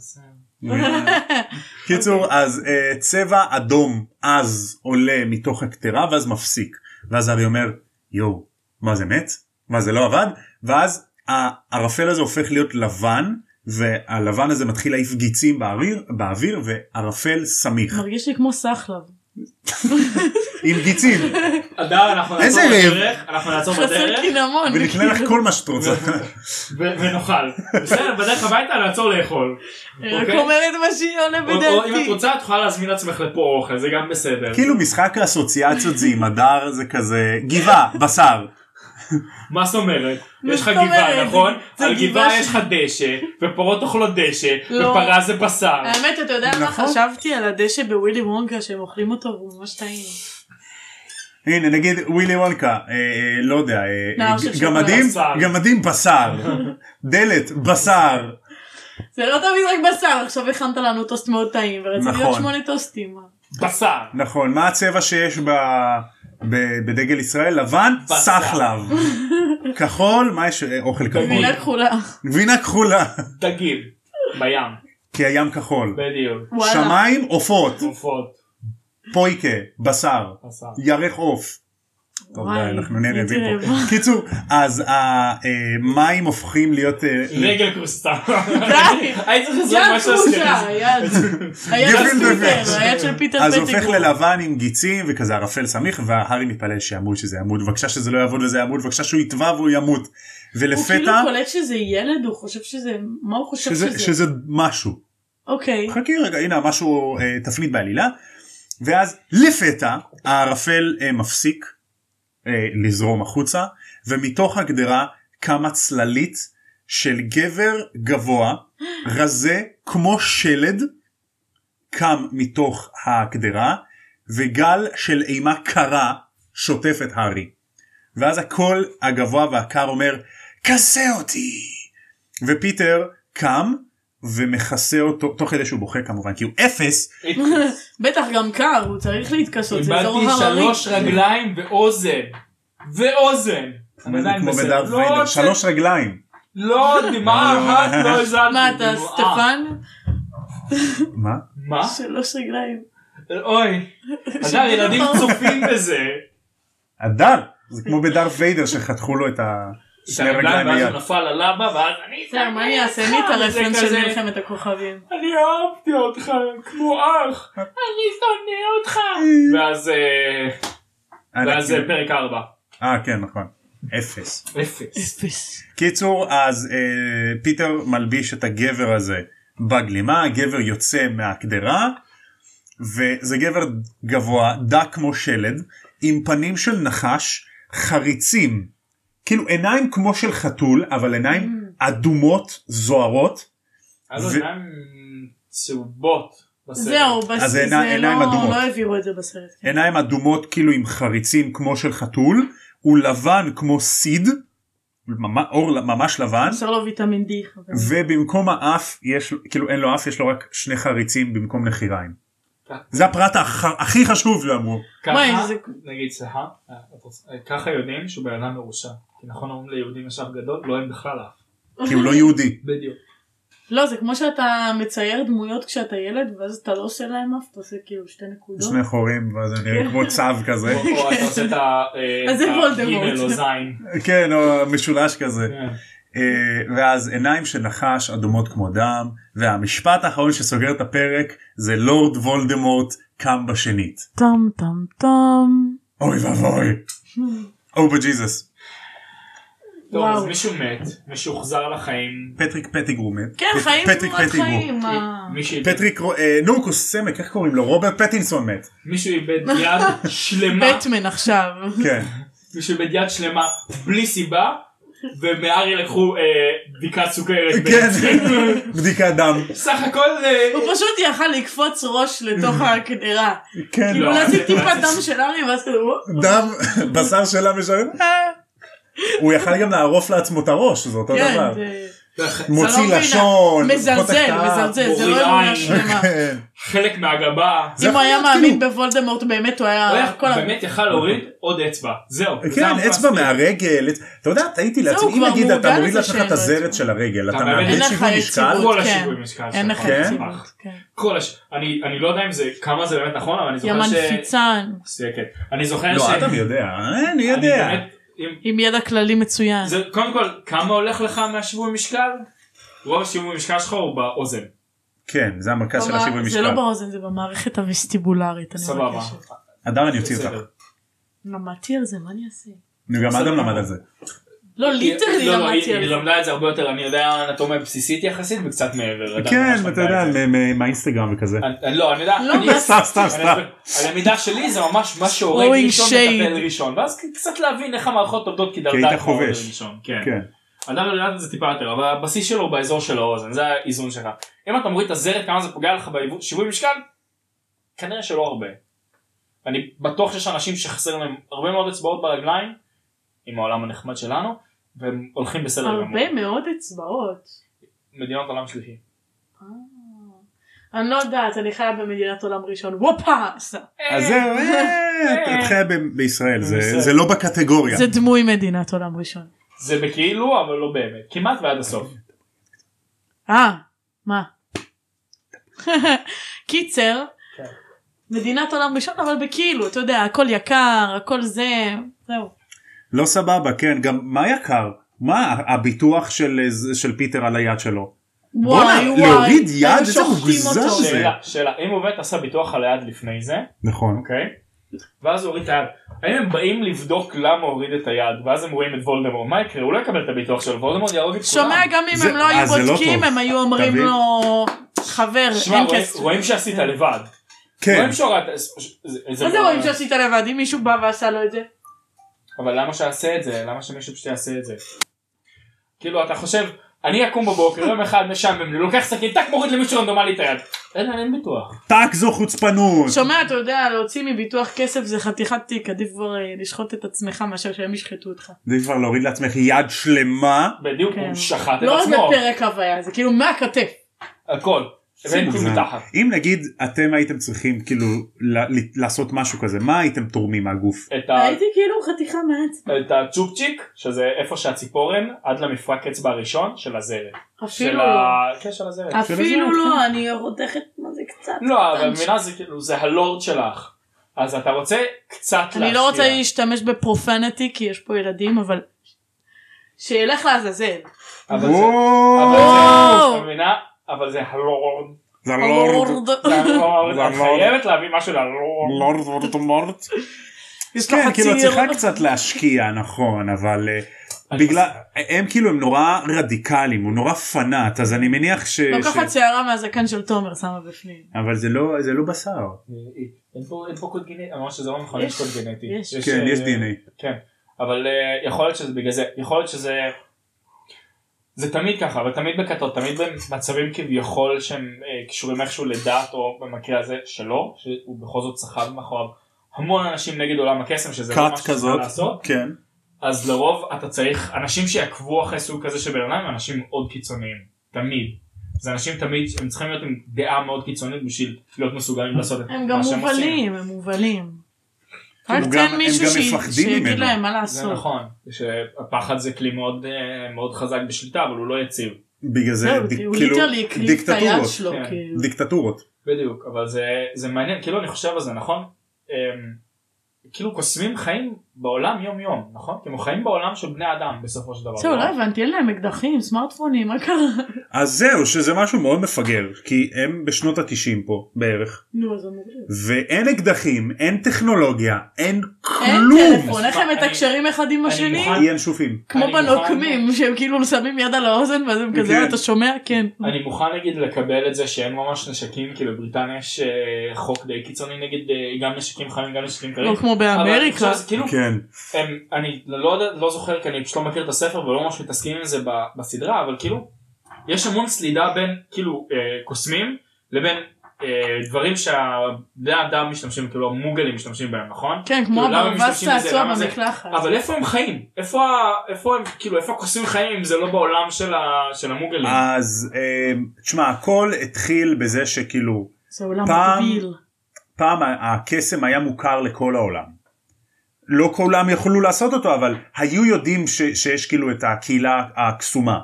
Speaker 3: קיצור
Speaker 1: אוקיי.
Speaker 3: אז אה, צבע אדום אז עולה מתוך הקטרה ואז מפסיק ואז אני אומר יואו מה זה מת מה זה לא עבד ואז הערפל הזה הופך להיות לבן והלבן הזה מתחיל להעיף גיצים באוויר באוויר וערפל סמיך
Speaker 1: מרגיש לי כמו סחלב.
Speaker 3: עם גיצים
Speaker 1: <laughs>
Speaker 2: אדר אנחנו
Speaker 3: איזה
Speaker 2: נעצור
Speaker 3: לב.
Speaker 2: בדרך. אנחנו נעצור
Speaker 1: חסר
Speaker 2: בדרך.
Speaker 1: קינמון.
Speaker 3: ונקנה לך כל מה שאת רוצה
Speaker 2: ו- ונאכל. בסדר, בדרך הביתה נעצור לאכול.
Speaker 1: אני רק
Speaker 2: אוקיי?
Speaker 1: אומרת מה שהיא עולה
Speaker 2: או- או אם את
Speaker 1: בדעתי.
Speaker 2: רוצה את יכולה להזמין לעצמך לפה אוכל, זה גם בסדר.
Speaker 3: כאילו משחק האסוציאציות זה עם הדר זה כזה גבעה בשר
Speaker 2: מה זאת אומרת?
Speaker 1: מה
Speaker 2: יש לך
Speaker 1: זאת
Speaker 2: גבעה,
Speaker 1: אומרת?
Speaker 2: נכון?
Speaker 1: זה
Speaker 2: על
Speaker 1: גבעה
Speaker 2: גבעה
Speaker 1: ש-
Speaker 2: יש לך דשא, ופרות אוכלות דשא,
Speaker 1: לא.
Speaker 2: ופרה זה בשר.
Speaker 1: האמת אתה יודע מה
Speaker 3: נכון.
Speaker 1: חשבתי על הדשא בווילי וונקה שהם אוכלים אותו והוא ממש טעים.
Speaker 3: הנה נגיד ווילי וולקה, אה, אה, לא יודע, אה,
Speaker 1: נער
Speaker 3: אה,
Speaker 1: של
Speaker 3: ג-
Speaker 1: שוקולד.
Speaker 3: גמדים,
Speaker 2: בשר. <laughs>
Speaker 3: גמדים בשר, דלת בשר,
Speaker 1: זה לא תמיד רק בשר עכשיו הכנת לנו טוסט מאוד טעים ורציתי עוד
Speaker 3: נכון.
Speaker 1: שמונה טוסטים.
Speaker 2: בשר.
Speaker 3: נכון, מה הצבע שיש ב... ב- בדגל ישראל לבן
Speaker 2: בשר.
Speaker 1: <laughs>
Speaker 3: סחלב כחול מה יש אה, אוכל כחול
Speaker 1: מילה כחולה.
Speaker 3: גבינה כחולה <laughs>
Speaker 2: דגים. בים.
Speaker 3: כי הים כחול
Speaker 2: בדיוק.
Speaker 1: וואלה.
Speaker 3: שמיים עופות
Speaker 2: עופות.
Speaker 3: פויקה בשר
Speaker 2: בשר.
Speaker 3: ירך עוף. טוב,
Speaker 1: וואי,
Speaker 3: די, אנחנו נהיה
Speaker 1: הייתי
Speaker 3: רעבים פה.
Speaker 1: רעבה.
Speaker 3: קיצור אז המים הופכים להיות אה,
Speaker 2: רגל כוסתה. <laughs>
Speaker 1: די.
Speaker 2: הייתי צריך לעשות
Speaker 1: יד
Speaker 2: משהו
Speaker 1: כבושה, יד.
Speaker 2: אשכנזי.
Speaker 1: היד של פיטר, היד של פיטר
Speaker 3: אז
Speaker 1: פטיגרו.
Speaker 3: הופך ללבן עם גיצים וכזה ערפל סמיך והארי מתפלל שימות שזה ימות בבקשה שזה לא יעבוד וזה ימות בבקשה שהוא יטבע והוא ימות
Speaker 1: הוא כאילו
Speaker 3: ולפתע
Speaker 1: קולט שזה ילד, הוא חושב שזה, מה הוא חושב
Speaker 3: שזה,
Speaker 1: שזה?
Speaker 3: שזה משהו
Speaker 1: אוקיי. <laughs>
Speaker 3: חכי רגע הנה משהו אה, תפנית בעלילה ואז לפתע הערפל אה, מפסיק אה, לזרום החוצה ומתוך הגדרה קמה צללית של גבר גבוה רזה כמו שלד קם מתוך הגדרה וגל של אימה קרה שוטף את הארי ואז הקול הגבוה והקר אומר כסה אותי ופיטר קם ומכסה אותו תוך כדי שהוא בוכה כמובן כי הוא אפס
Speaker 1: בטח גם קר, הוא צריך להתכסות, זה אזור
Speaker 2: איבדתי
Speaker 1: הררי.
Speaker 2: שלוש רגליים ואוזן. ואוזן. אבל עדיין
Speaker 3: כמו
Speaker 2: בסדר.
Speaker 3: בדארט
Speaker 2: לא
Speaker 3: ויידר
Speaker 2: רוצה-
Speaker 3: שלוש רגליים
Speaker 2: לא,
Speaker 3: <laughs>
Speaker 2: דמעה אחת לא הזלתי.
Speaker 1: מה אתה,
Speaker 2: דמעה.
Speaker 1: סטפן?
Speaker 3: מה
Speaker 2: מה?
Speaker 1: שלוש רגליים.
Speaker 2: אוי.
Speaker 1: <laughs>
Speaker 2: אדם, ילדים צופים בזה.
Speaker 3: אדם זה כמו בדארט ויידר שחתכו לו את ה... <laughs> שני רגליים
Speaker 2: ואז
Speaker 3: ביד.
Speaker 2: הוא נפל על אבא ואז אני...
Speaker 1: בסדר, כן, מה אני אעשה? אני
Speaker 2: איתך,
Speaker 1: את הרפרנס
Speaker 2: וזה
Speaker 1: של
Speaker 2: כזה,
Speaker 1: מלחמת הכוכבים.
Speaker 2: אני אהבתי אותך כמו אח. אני שונא
Speaker 3: <laughs>
Speaker 2: אותך. ואז אה, ואז אה, פרק 4.
Speaker 3: כן. אה כן נכון אפס
Speaker 2: אפס.
Speaker 1: אפס.
Speaker 3: קיצור אז אה, פיטר מלביש את הגבר הזה בגלימה הגבר יוצא מהקדרה וזה גבר גבוה דק כמו שלד עם פנים של נחש חריצים כאילו עיניים כמו של חתול אבל עיניים אדומות זוהרות
Speaker 2: אז
Speaker 3: ו-
Speaker 2: עיניים צהובות. בסרט.
Speaker 1: זהו, בס-
Speaker 3: אז
Speaker 1: זה
Speaker 3: עיני- עיניים
Speaker 1: לא
Speaker 3: אדומות.
Speaker 1: לא העבירו את זה בסרט. כן.
Speaker 3: עיניים אדומות כאילו עם חריצים כמו של חתול הוא לבן כמו סיד ממ- אור ממש לבן
Speaker 1: חסר לו ויטמין D. חברים.
Speaker 3: ובמקום האף יש לו- כאילו אין לו אף יש לו רק שני חריצים במקום נחיריים.
Speaker 2: ככה.
Speaker 3: זה הפרט הח... הכי חשוב שאמרו.
Speaker 1: וואי,
Speaker 2: ככה,
Speaker 1: זה-
Speaker 2: נגיד סליחה, אה, את רוצה- אה, ככה יודעים שהוא בן אדם מרושע. כי נכון אומרים ליהודים יש אף גדול, לא אין בכלל אף.
Speaker 3: כי הוא לא יהודי.
Speaker 2: בדיוק.
Speaker 1: לא, זה כמו שאתה מצייר דמויות כשאתה ילד, ואז אתה לא עושה להם אף, אתה עושה כאילו שתי נקודות.
Speaker 3: שני חורים ואז זה נראה כמו צב
Speaker 2: או
Speaker 3: כזה.
Speaker 2: או אתה עושה את ה...
Speaker 1: <laughs>
Speaker 2: אה,
Speaker 1: אז זה
Speaker 2: את ה-
Speaker 1: וולדמורט.
Speaker 2: גימל או
Speaker 3: <laughs>
Speaker 2: זין.
Speaker 3: כן או משולש כזה.
Speaker 2: כן.
Speaker 3: אה, ואז עיניים של נחש אדומות כמו דם והמשפט האחרון שסוגר את הפרק זה לורד וולדמורט קם בשנית.
Speaker 1: טם טם טם.
Speaker 3: אוי ואבוי. Oh, או בג'יזוס.
Speaker 2: טוב, אז
Speaker 1: וואו.
Speaker 2: מישהו מת, מישהו הוחזר לחיים.
Speaker 3: פטריק פטיגרו מת.
Speaker 1: כן,
Speaker 3: פט-
Speaker 1: חיים
Speaker 3: פטריק
Speaker 1: תמורת
Speaker 3: פטיגרו.
Speaker 1: חיים. מה?
Speaker 2: מישהו איבד-
Speaker 3: פטריק רו- אה, נו קוסמק איך קוראים לו רוברט פטינסון מת.
Speaker 2: מישהו איבד
Speaker 1: <laughs>
Speaker 2: יד שלמה,
Speaker 1: בטמן עכשיו.
Speaker 3: כן.
Speaker 2: מישהו איבד יד שלמה בלי סיבה, ומארי לקחו אה, בדיקת סוכרת.
Speaker 3: <laughs> כן.
Speaker 2: בעצם.
Speaker 3: בדיקת דם.
Speaker 2: <laughs> סך הכל... אה,
Speaker 1: הוא <laughs> פשוט יכל לקפוץ ראש
Speaker 3: <laughs>
Speaker 1: לתוך הקדרה.
Speaker 3: כן.
Speaker 1: כאילו
Speaker 2: לא.
Speaker 1: להציג טיפה דם של ארי ואז כזה וואו.
Speaker 3: דם בשר שלה משלם הוא יכל גם לערוף לעצמו את הראש זה אותו
Speaker 1: כן,
Speaker 3: דבר
Speaker 1: זה- אתה לא
Speaker 3: מוציא
Speaker 1: מבינה.
Speaker 3: לשון
Speaker 1: מזלזל,
Speaker 3: חותך את האף.
Speaker 1: מזלזל, זה לא
Speaker 2: מוריד
Speaker 1: אמונה
Speaker 2: עין.
Speaker 1: שלמה.
Speaker 3: כן.
Speaker 2: חלק מהגבה.
Speaker 3: <laughs> זה
Speaker 1: אם הוא
Speaker 3: יכול
Speaker 1: היה
Speaker 3: להיות
Speaker 1: מאמין
Speaker 3: כאילו-
Speaker 1: בוולדמורט באמת הוא היה...
Speaker 2: הוא היה
Speaker 1: אה, כל ה-
Speaker 2: באמת יכל להוריד עוד אצבע. זהו. זה
Speaker 3: כן
Speaker 2: המפס.
Speaker 3: אצבע מהרגל את- אתה יודע תהיתי
Speaker 1: זהו,
Speaker 3: לעצמי אם
Speaker 1: כבר
Speaker 3: נגיד
Speaker 1: מורגל
Speaker 3: אתה מוריד
Speaker 1: לזה
Speaker 3: לעצמך
Speaker 1: שאין
Speaker 3: את
Speaker 1: לו
Speaker 3: הזרת
Speaker 1: אצבע.
Speaker 3: של הרגל
Speaker 2: אתה
Speaker 3: אתה
Speaker 2: מאבד
Speaker 3: מאבד
Speaker 2: אין לך
Speaker 3: שיווי משקל
Speaker 1: יציבות,
Speaker 2: כל
Speaker 1: כן.
Speaker 2: השיווי משקל
Speaker 1: אין לך
Speaker 2: שלך.
Speaker 3: כן?
Speaker 1: יציבות. כן.
Speaker 2: כל הש... אני, אני לא יודע אם זה, כמה זה באמת נכון, אבל אני
Speaker 1: יא
Speaker 2: זוכר ש...
Speaker 1: מנפיצן,
Speaker 2: זה, כן. אני זוכר ש...
Speaker 3: לא אתה יודע אה, אני
Speaker 2: אני
Speaker 3: יודע
Speaker 2: באמת- אם-
Speaker 1: עם ידע כללי מצוין.
Speaker 2: זה, קודם כל, כמה הולך לך מהשיווי משקל? רוב השיווי משקל שלך הוא באוזן.
Speaker 3: כן זה המרכז של
Speaker 1: כלומר,
Speaker 3: השיווי
Speaker 1: זה לא
Speaker 3: משקל
Speaker 1: באוזן, זה במערכת הוויסטיבולרית. אני
Speaker 2: סבבה.
Speaker 1: מבקשת.
Speaker 3: אדם אני אוציא
Speaker 2: בסדר.
Speaker 3: אותך
Speaker 1: למדתי על לא, זה, מה אני אעשה?
Speaker 3: נו, גם
Speaker 2: בסדר.
Speaker 3: אדם למד על זה
Speaker 1: לא, ליטרלי
Speaker 2: לא, לא, היא-
Speaker 1: למדתי על
Speaker 2: היא
Speaker 1: זה.
Speaker 2: למדה את זה הרבה יותר, אני יודע אנטומיה בסיסית יחסית וקצת מעבר. אדם ממש
Speaker 3: כן
Speaker 2: למדה
Speaker 3: אתה
Speaker 2: את
Speaker 3: יודע
Speaker 2: זה.
Speaker 3: מ- מ- מהאינסטגרם וכזה
Speaker 2: אני- אני- לא, אני יודע,
Speaker 1: לא,
Speaker 2: אני-
Speaker 1: מה-
Speaker 3: סתם סתם סתם
Speaker 2: אני- הלמידה שלי זה ממש מה שהורג
Speaker 1: Throwing
Speaker 2: ראשון
Speaker 1: shade.
Speaker 2: מטפל ראשון, ואז קצת להבין איך המערכות עובדות כדי
Speaker 3: כי
Speaker 2: לדעת
Speaker 3: היית
Speaker 2: מה הורג
Speaker 3: חובש.
Speaker 2: ראשון. כן.
Speaker 3: כן.
Speaker 2: אדם לדעת זה טיפה יותר, אבל הבסיס שלו הוא באזור של האוזן, זה האיזון שלך. אם אתה מוריד את הזרת כמה זה פוגע לך בשיווי משקל, כנראה שלא הרבה. אני בטוח שיש אנשים שחסר להם הרבה מאוד אצבעות ברגליים, עם העולם הנחמד שלנו, והם הולכים בסדר גמור.
Speaker 1: הרבה מאוד אצבעות.
Speaker 2: מדינות עולם שלישי.
Speaker 1: אה. אני לא יודעת, אני חיה במדינת עולם ראשון. וופה!
Speaker 3: אז זהו, אה, את חיה ב- בישראל, זה-
Speaker 2: בישראל.
Speaker 3: זה לא בקטגוריה.
Speaker 1: זה דמוי מדינת עולם ראשון.
Speaker 2: זה בכאילו, אבל לא באמת. כמעט ועד הסוף.
Speaker 1: אה, מה? <laughs> קיצר,
Speaker 2: כן.
Speaker 1: מדינת עולם ראשון, אבל בכאילו, אתה יודע, הכל יקר, הכל זה, זהו.
Speaker 3: לא סבבה, כן, גם מה יקר? מה הביטוח של, אה, של פיטר על היד שלו?
Speaker 1: וואי וואי,
Speaker 3: להוריד יד,
Speaker 1: היו
Speaker 3: איזה
Speaker 1: שוחטים
Speaker 3: מוגזם
Speaker 1: אותו.
Speaker 3: זה.
Speaker 2: שאלה, שאלה, אם הוא באמת עשה ביטוח על היד לפני זה,
Speaker 3: נכון.
Speaker 2: אוקיי? ואז הוא הוריד את היד. האם הם באים לבדוק למה הוא הוריד את היד, ואז הם רואים את וולדמור, מה יקרה? הוא לא יקבל את הביטוח של וולדמור, יהרוג את כולם.
Speaker 1: שומע גם אם
Speaker 3: זה-
Speaker 1: הם לא
Speaker 3: אה,
Speaker 1: היו
Speaker 3: זה לא
Speaker 1: בודקים,
Speaker 3: טוב.
Speaker 1: הם היו אומרים
Speaker 3: תבין?
Speaker 1: לו, חבר,
Speaker 2: שמע,
Speaker 1: אין
Speaker 2: רואים-
Speaker 1: כסף.
Speaker 2: רואים שעשית לבד.
Speaker 3: כן,
Speaker 2: רואים שהורדת... זה- לא-
Speaker 1: מה זה רואים שעשית לבד, אם מישהו בא ועשה לו את זה?
Speaker 2: אבל למה שיעשה את זה? למה שמישהו פשוט יעשה את זה? כאילו, אתה חושב, אני אקום בבוקר, יום אחד משעמם לי, לוקח סכין, טק, מוריד למישהו רנדומלי את היד. אין, אין ביטוח.
Speaker 3: טאק זו חוצפנות.
Speaker 1: שומע, אתה יודע, להוציא מביטוח כסף זה חתיכת תיק, עדיף כבר אה, לשחוט את עצמך מאשר שהם ישחטו אותך.
Speaker 3: זה כבר להוריד לעצמך יד שלמה.
Speaker 2: בדיוק,
Speaker 1: כן.
Speaker 2: הוא שחט את
Speaker 1: לא רק
Speaker 2: עצמו.
Speaker 1: בפרק הוויה, זה כאילו מהכתף.
Speaker 2: הכל. ואין כלום
Speaker 3: מוגזם.
Speaker 2: מתחת.
Speaker 3: אם נגיד אתם הייתם צריכים כאילו ל- ל- לעשות משהו כזה מה הייתם תורמים מהגוף
Speaker 2: את ה-
Speaker 1: הייתי כאילו חתיכה מעץ.
Speaker 2: את הצ'ופצ'יק, שזה איפה שהציפורן, עד למפרק אצבע הראשון של הזרם. של
Speaker 1: אפילו לא.
Speaker 2: ה... כן, של הזרם.
Speaker 1: אפילו
Speaker 3: של זה,
Speaker 1: לא, אני רותכת מה זה קצת.
Speaker 2: לא, אבל
Speaker 1: קטן.
Speaker 2: מבינה זה כאילו, זה הלורד שלך. אז אתה רוצה קצת להשקיע.
Speaker 1: אני לא רוצה להשתמש בפרופנטי כי יש פה ילדים, אבל... שילך לעזאזל.
Speaker 2: אבל זה- אבל
Speaker 3: וואו.
Speaker 2: זה- את מבינה? אבל זה הלורד.
Speaker 3: זה לא לורד
Speaker 1: הלורד.
Speaker 2: זה הלורד.
Speaker 3: זה
Speaker 2: את
Speaker 3: הלורד.
Speaker 2: חייבת להביא משהו ללורד.
Speaker 3: לורד וורט ומורט.
Speaker 1: יש לו
Speaker 3: כן
Speaker 1: חצי
Speaker 3: כאילו את צריכה
Speaker 1: ירוק.
Speaker 3: קצת להשקיע נכון אבל אה,
Speaker 2: אני
Speaker 3: בגלל הם כאילו הם נורא רדיקליים הוא נורא פנאט אז אני מניח ש...
Speaker 1: לוקחת
Speaker 3: ש-
Speaker 1: שערה מהזקן של תומר שמה בפנים.
Speaker 3: אבל זה לא זה לא בשר
Speaker 2: אין פה- אין פה קוד גנטי, אמרנו שזה לא נכון,
Speaker 1: יש,
Speaker 2: יש קוד גנטי.
Speaker 1: יש.
Speaker 3: כן
Speaker 2: אה,
Speaker 3: יש DNA.
Speaker 2: כן, אבל אה, יכול להיות שזה בגלל זה, יכול להיות שזה... זה תמיד ככה, אבל תמיד בכתות, תמיד במצבים כביכול שהם אה, קשורים איכשהו לדת, או במקרה הזה שלו, שהוא בכל זאת סחב מאחוריו המון אנשים נגד עולם הקסם, שזה לא
Speaker 3: קאט
Speaker 2: משהו שצריך
Speaker 3: כזאת
Speaker 2: לעשות,
Speaker 3: כן
Speaker 2: אז לרוב אתה צריך, אנשים שיעקבו אחרי סוג כזה של בן אדם, הם אנשים מאוד קיצוניים, תמיד. זה אנשים תמיד, הם צריכים להיות עם דעה מאוד קיצונית בשביל להיות מסוגלים לעשות את
Speaker 1: הם גם
Speaker 2: מה שהם עושים.
Speaker 1: מובלים, הם מובלים.
Speaker 3: הם
Speaker 1: רק
Speaker 3: כאילו גם-
Speaker 1: תן
Speaker 3: הם
Speaker 1: מישהו
Speaker 3: גם
Speaker 1: שי-
Speaker 3: מפחדים
Speaker 1: שיגיד
Speaker 3: ממנו.
Speaker 1: להם מה
Speaker 2: זה
Speaker 1: לעשות.
Speaker 2: נכון, שהפחד זה כלי מאוד, אה, מאוד חזק בשליטה, אבל הוא לא יציב.
Speaker 3: בגלל זה
Speaker 1: זהו,
Speaker 3: דיק-
Speaker 1: הוא
Speaker 3: כאילו
Speaker 1: ליטרלי הקריב את היד
Speaker 3: דיקטטורות
Speaker 1: שלו.
Speaker 2: כן.
Speaker 1: כאילו.
Speaker 3: דיקטטורות
Speaker 2: בדיוק, אבל זה, זה מעניין, כאילו אני חושב על זה, נכון? אמ, כאילו קוסמים חיים בעולם יום יום, נכון? כי הם חיים בעולם של בני אדם בסופו של דבר.
Speaker 1: זהו,
Speaker 2: לא?
Speaker 1: לא הבנתי, אין להם אקדחים, סמארטפונים, מה קרה?
Speaker 3: אז זהו שזה משהו מאוד מפגר כי הם בשנות התשעים פה בערך
Speaker 1: נו, אז אמרו לי.
Speaker 3: ואין אקדחים אין טכנולוגיה אין
Speaker 1: אין
Speaker 3: כלום
Speaker 1: טלפון, איך הם
Speaker 2: אני-
Speaker 1: מתקשרים אחד עם
Speaker 2: אני
Speaker 1: השני?
Speaker 2: מוכן-
Speaker 3: אי ינשופים
Speaker 1: כמו
Speaker 2: אני
Speaker 1: בנוקמים, שהם כאילו שמים יד על האוזן ואז הם כזה,
Speaker 3: כן.
Speaker 1: "אה, אתה שומע? כן.
Speaker 2: אני מוכן נגיד לקבל את זה שאין ממש נשקים, כי בבריטניה יש אה, חוק די קיצוני נגד אה, גם נשקים חיים, גם נשקים קרים.
Speaker 1: לא כמו
Speaker 2: אבל אני חושב
Speaker 1: באמריקה.
Speaker 2: שזה כאילו,
Speaker 3: כן
Speaker 2: הם, אני לא, יודע, לא זוכר כי אני פשוט לא מכיר את הספר ולא ממש מתעסקים עם זה ב- בסדרה אבל כאילו יש המון סלידה בין כאילו אה, קוסמים לבין אה, דברים שהבני האדם משתמשים כאילו המוגלים משתמשים בהם נכון?
Speaker 1: כן, כמו
Speaker 2: כאילו, למה הם
Speaker 1: הברווז
Speaker 2: משתמשים בזה?
Speaker 1: צעצוע
Speaker 2: למה זה?
Speaker 1: במקלחת.
Speaker 2: אבל איפה הם חיים? איפה, ה- איפה הם כאילו איפה הקוסמים חיים אם זה לא בעולם של, ה, של המוגלים?
Speaker 3: אז אה, תשמע הכל התחיל בזה שכאילו
Speaker 1: זה עולם
Speaker 3: פעם-
Speaker 1: מקביל.
Speaker 3: פעם ה- הקסם היה מוכר לכל העולם. לא כולם יכלו לעשות אותו אבל היו יודעים ש, שיש כאילו את הקהילה הקסומה.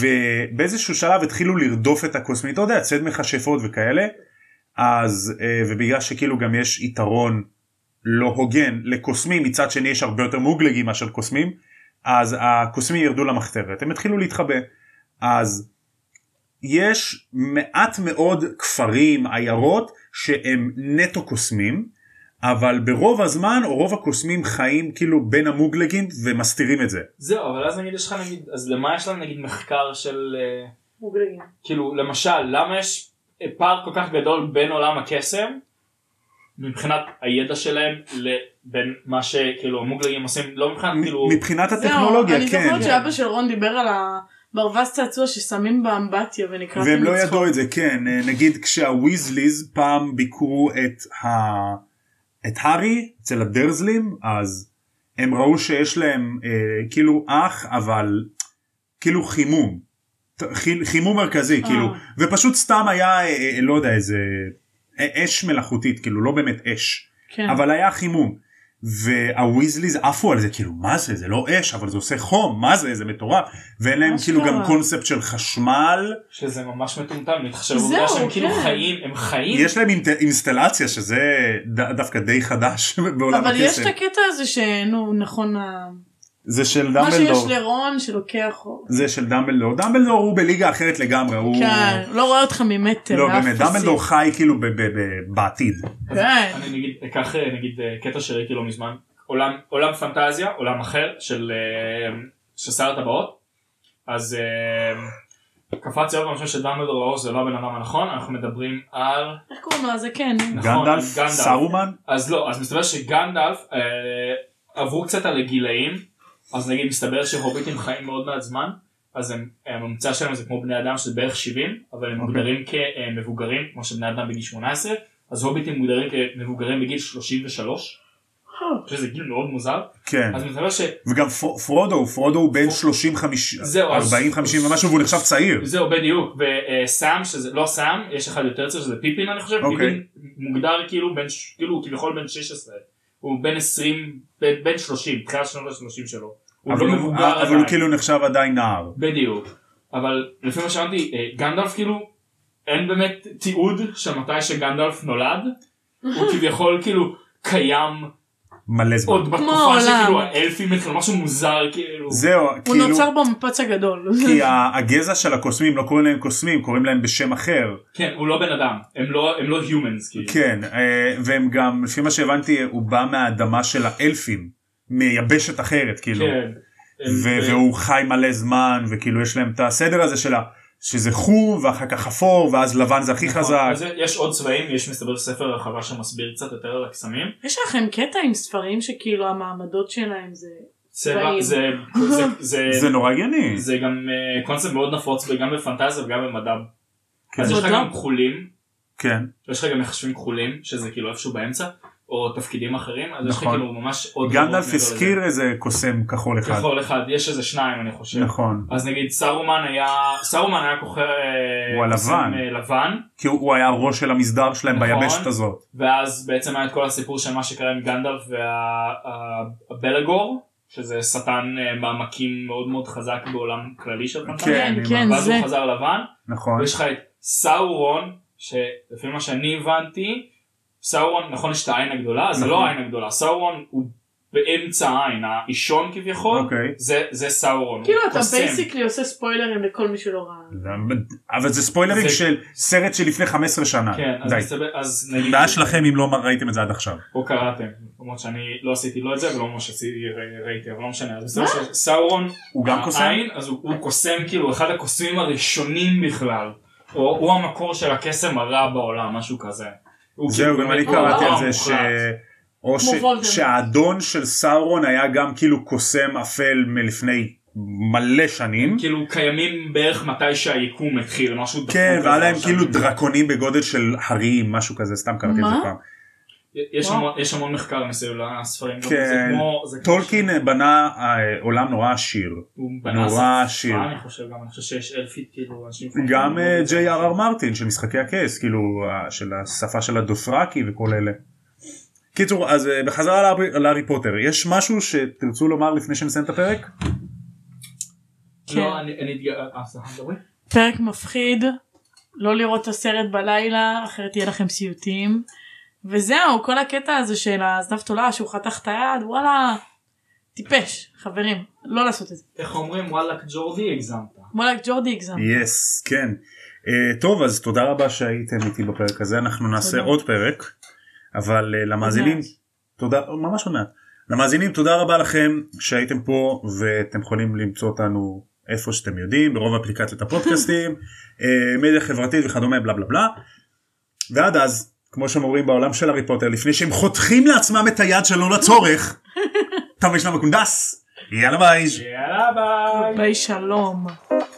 Speaker 3: ובאיזשהו שלב התחילו לרדוף את הקוסמים, אתה יודע, ציד מכשפות וכאלה. אז אה, ובגלל שכאילו גם יש יתרון לא הוגן לקוסמים מצד שני יש הרבה יותר מוגלגים מאשר קוסמים אז הקוסמים ירדו למחתרת הם התחילו להתחבא אז יש מעט מאוד כפרים עיירות שהם נטו קוסמים אבל ברוב הזמן או רוב הקוסמים חיים כאילו בין המוגלגים ומסתירים את זה
Speaker 2: זהו אבל אז נגיד יש לך נגיד אז למה יש לנו נגיד מחקר של אה,
Speaker 1: מוגלגים.
Speaker 2: כאילו למשל למה יש פער כל כך גדול בין עולם הקסם מבחינת הידע שלהם לבין מה שכאילו המוגלגים עושים לא מבחינת כאילו
Speaker 3: מבחינת
Speaker 1: זהו,
Speaker 3: הטכנולוגיה
Speaker 1: אני
Speaker 3: כן
Speaker 1: זוכרת שאבא של רון דיבר על הברווז צעצוע ששמים באמבטיה ונקרא
Speaker 3: והם לא ידעו את זה כן אה, נגיד כשהוויזליז פעם ביקרו את, ה... את הארי אצל הדרזלים אז הם ראו שיש להם אה, כאילו אח אבל כאילו חימום ת- חיל- חימום מרכזי
Speaker 1: אה.
Speaker 3: כאילו ופשוט סתם היה אה, אה, לא יודע איזה אה, אש מלאכותית כאילו לא באמת אש
Speaker 1: כן.
Speaker 3: אבל היה חימום. והוויזליז עפו על זה כאילו מה זה זה לא אש אבל זה עושה חום מה זה זה מטורף ואין להם
Speaker 1: מה
Speaker 3: כאילו גם
Speaker 1: שקרה.
Speaker 3: קונספט של חשמל
Speaker 2: שזה ממש מטומטם להתחשב
Speaker 1: זהו,
Speaker 2: בעובדה שהם כאילו
Speaker 1: כן.
Speaker 2: חיים הם חיים
Speaker 3: יש להם אינט- אינסטלציה שזה ד- דווקא די חדש <laughs> בעולם
Speaker 1: אבל יש את
Speaker 3: הקסם
Speaker 1: הקטע הזה שנו נכון ה-
Speaker 3: זה של
Speaker 1: מה שיש
Speaker 3: דמבלדור
Speaker 1: לרון שלוקח
Speaker 3: זה של דמבלדור דמבלדור הוא בליגה אחרת לגמרי הוא
Speaker 1: כן לא רואה אותך ממטר.
Speaker 3: לא
Speaker 1: אף
Speaker 3: באמת
Speaker 1: פסיק.
Speaker 3: דמבלדור חי כאילו ב- ב- ב- בעתיד
Speaker 1: כן.
Speaker 2: אני נגיד אקח אה, נגיד אה, קטע שראיתי לא מזמן עולם עולם פנטזיה עולם אחר של אה, של שר הטבעות אז אה, קפץ יום ראשון של דמבלדור לאור זה לא הבן אדם הנכון אנחנו מדברים על
Speaker 1: איך קוראים לו? זה כן.
Speaker 2: נכון,
Speaker 3: גנדלף
Speaker 2: גנדלף.
Speaker 3: סרומן
Speaker 2: אז לא, אז מסתבר שגנדלף אה, עברו קצת על הגילאים, אז נגיד מסתבר שהוביטים חיים מאוד מעט זמן, אז הם- הממוצע שלהם זה כמו בני אדם שזה בערך 70, אבל הם
Speaker 3: אוקיי.
Speaker 2: מוגדרים כמבוגרים, כמו שבני אדם בגיל 18, אז הוביטים מוגדרים כמבוגרים בגיל 33, שזה גיל מאוד מוזר.
Speaker 3: כן.
Speaker 2: אז מסתבר ש...
Speaker 3: וגם פר- פרודו, פרודו הוא בן 30, 50,
Speaker 2: זהו, אז-
Speaker 3: 40, 50 ומשהו והוא נחשב צעיר.
Speaker 2: זהו בדיוק וסאם שזה לא סאם יש אחד יותר צעיר שזה פיפין אני חושב
Speaker 3: אוקיי.
Speaker 2: פיפין מוגדר כאילו בן ש- כאילו הוא כביכול בן 16 הוא בן 20 בן- בן 30 תחילת שנות ה-30 שלו. הוא
Speaker 3: אבל
Speaker 2: לא
Speaker 3: הוא-
Speaker 2: מבוגר
Speaker 3: אבל
Speaker 2: עדיין.
Speaker 3: הוא כאילו נחשב עדיין נער.
Speaker 2: בדיוק אבל לפי מה שאמרתי אה, גנדלף כאילו אין באמת תיעוד של מתי שגנדלף נולד הוא כביכול כאילו קיים
Speaker 3: מלא זמן.
Speaker 2: עוד בתקופה
Speaker 1: העולם.
Speaker 2: שכאילו האלפים התחילו משהו מוזר כאילו
Speaker 3: זהו,
Speaker 1: הוא
Speaker 3: כאילו,
Speaker 1: נוצר במפץ הגדול.
Speaker 3: כי ה- הגזע של הקוסמים לא קוראים להם קוסמים, קוראים להם בשם אחר.
Speaker 2: כן הוא לא בן אדם הם לא הם לא humans כאילו
Speaker 3: כן, אה, והם גם, לפי מה שהבנתי, הוא בא מהאדמה של האלפים, מיבשת אחרת, כאילו.
Speaker 2: כן. הם-
Speaker 3: ו- והוא חי מלא זמן, וכאילו יש להם את הסדר הזה של ה... שזה חום, ואחר כך אפור, ואז לבן זה הכי
Speaker 2: נכון,
Speaker 3: חזק.
Speaker 2: אז יש עוד צבעים, יש מסתבר ספר רחבה שמסביר קצת יותר על הקסמים.
Speaker 1: יש לכם קטע עם ספרים שכאילו המעמדות שלהם זה...
Speaker 2: צבע
Speaker 1: צבעים.
Speaker 2: זה, זה, זה,
Speaker 3: <laughs> זה נורא הגיוני.
Speaker 2: זה גם אה, קונספט מאוד נפוץ גם בפנטזיה וגם במדע.
Speaker 3: כן.
Speaker 2: אז יש לך
Speaker 1: מדע.
Speaker 2: גם כחולים,
Speaker 3: כן.
Speaker 2: יש לך גם מחשבים כחולים, שזה כאילו איפשהו באמצע, או תפקידים אחרים, אז יש לך
Speaker 3: נכון.
Speaker 2: כאילו ממש עוד... רבות
Speaker 3: גנדלף
Speaker 2: מעבר לזה.
Speaker 3: הזכיר איזה קוסם כחול אחד.
Speaker 2: כחול אחד, יש איזה שניים אני חושב.
Speaker 3: נכון.
Speaker 2: אז נגיד סרומן היה, סרומן היה כוחר... אה,
Speaker 3: הוא
Speaker 2: קוסם,
Speaker 3: הלבן.
Speaker 2: אה, לבן,
Speaker 3: כי הוא- הוא היה הראש של המסדר שלהם
Speaker 2: נכון.
Speaker 3: ביבשת הזאת.
Speaker 2: ואז בעצם היה את כל הסיפור של מה שקרה עם גנדלף והבלגור, שזה שטן אה, בעמקים מאוד מאוד חזק בעולם כללי של פנטזיה,
Speaker 3: כן,
Speaker 1: כן,
Speaker 3: עם
Speaker 1: כן,
Speaker 2: ואז
Speaker 1: זה.
Speaker 2: הוא חזר לבן,
Speaker 3: נכון.
Speaker 2: ויש לך את סאורון, שלפי מה שאני הבנתי, סאורון, נכון יש את העין הגדולה, זה
Speaker 3: נכון.
Speaker 2: לא העין הגדולה, סאורון הוא באמצע העין, האישון כביכול,
Speaker 3: אוקיי.
Speaker 2: זה- זה סאורון,
Speaker 1: כאילו
Speaker 2: הוא
Speaker 1: אתה
Speaker 2: קוסם.
Speaker 1: בייסיקלי עושה ספוילרים לכל מי שלא ראה.
Speaker 3: אבל זה ספוילרים
Speaker 2: זה-
Speaker 3: של סרט שלפני 15 שנה.
Speaker 2: כן, אז
Speaker 3: די.
Speaker 2: מסתבר- אז נגיד,
Speaker 3: בעיה שלכם אם לא ראיתם את זה עד עכשיו.
Speaker 2: או קראתם, למרות שאני לא עשיתי לא את זה ולא ממש עשיתי- ר- ראיתי, אבל לא משנה, אז בסדר שסאורון
Speaker 3: הוא גם קוסם?
Speaker 2: העין, אז הוא, הוא קוסם כאילו אחד הקוסמים הראשונים בכלל. הוא, הוא המקור של הקסם הרע בעולם, משהו כזה. הוא
Speaker 3: זהו,
Speaker 2: כאילו
Speaker 3: גם אני
Speaker 2: באמת
Speaker 3: קראתי
Speaker 2: הרע
Speaker 3: על זה ש...
Speaker 2: המוחלט.
Speaker 3: או ש...
Speaker 1: כמו וולדמורט.
Speaker 3: שהאדון של סאורון היה גם כאילו קוסם אפל מלפני מלא שנים.
Speaker 2: כאילו קיימים בערך מתי שהיקום התחיל, משהו דפוק.
Speaker 3: כן,
Speaker 2: כזה,
Speaker 3: והיה להם
Speaker 2: משהו.
Speaker 3: כאילו דרקונים בגודל של הרים, משהו כזה, סתם קראתי את זה
Speaker 1: מה?
Speaker 3: פעם.
Speaker 2: יש המון, יש המון מחקר מסביב לספרים. גם, זה
Speaker 3: כן.
Speaker 2: כמו- זה כמו
Speaker 3: טולקין בנה אה, עולם נורא עשיר.
Speaker 2: שהוא בנה
Speaker 3: נורא
Speaker 2: שפה,
Speaker 3: עשיר.
Speaker 2: אני חושב גם, אני חושב שיש אלפית כאילו אנשים.
Speaker 3: גם אה,
Speaker 2: חושבים מאוד
Speaker 3: ג'יי אר אר מרטין של משחקי הכס כאילו אה, של השפה של הדופרקי וכל אלה. קיצור אז אה, בחזרה להארי- להארי פוטר יש משהו שתרצו לומר לפני שנסיים את הפרק?
Speaker 2: לא, אני אני אתגאה, אה, סליחה, מדברים?
Speaker 1: פרק מפחיד, לא לראות את הסרט בלילה, אחרת יהיה לכם סיוטים. וזהו, כל הקטע הזה של הזנב תולעה שהוא חתך את היד, וואלה, טיפש, חברים, לא לעשות את זה.
Speaker 2: איך אומרים וואלכ ג'ורדי הגזמת.
Speaker 1: וואלה, ג'ורדי הגזם.
Speaker 3: יס כן. אה, טוב אז תודה רבה שהייתם איתי בפרק הזה אנחנו נעשה
Speaker 1: תודה.
Speaker 3: עוד פרק אבל אה, למאזינים תודה ממש עוד מעט. למאזינים תודה רבה לכם שהייתם פה ואתם יכולים למצוא אותנו איפה שאתם יודעים ברוב אפליקציות הפודקאסטים אה, מדיה חברתית וכדומה בלה בלה בלה. ועד אז כמו שהם אומרים בעולם של הארי פוטר לפני שהם חותכים לעצמם את היד שלא לצורך. תמריש למקונדס יאללה ביי.
Speaker 2: יאללה ביי.
Speaker 1: ביי שלום.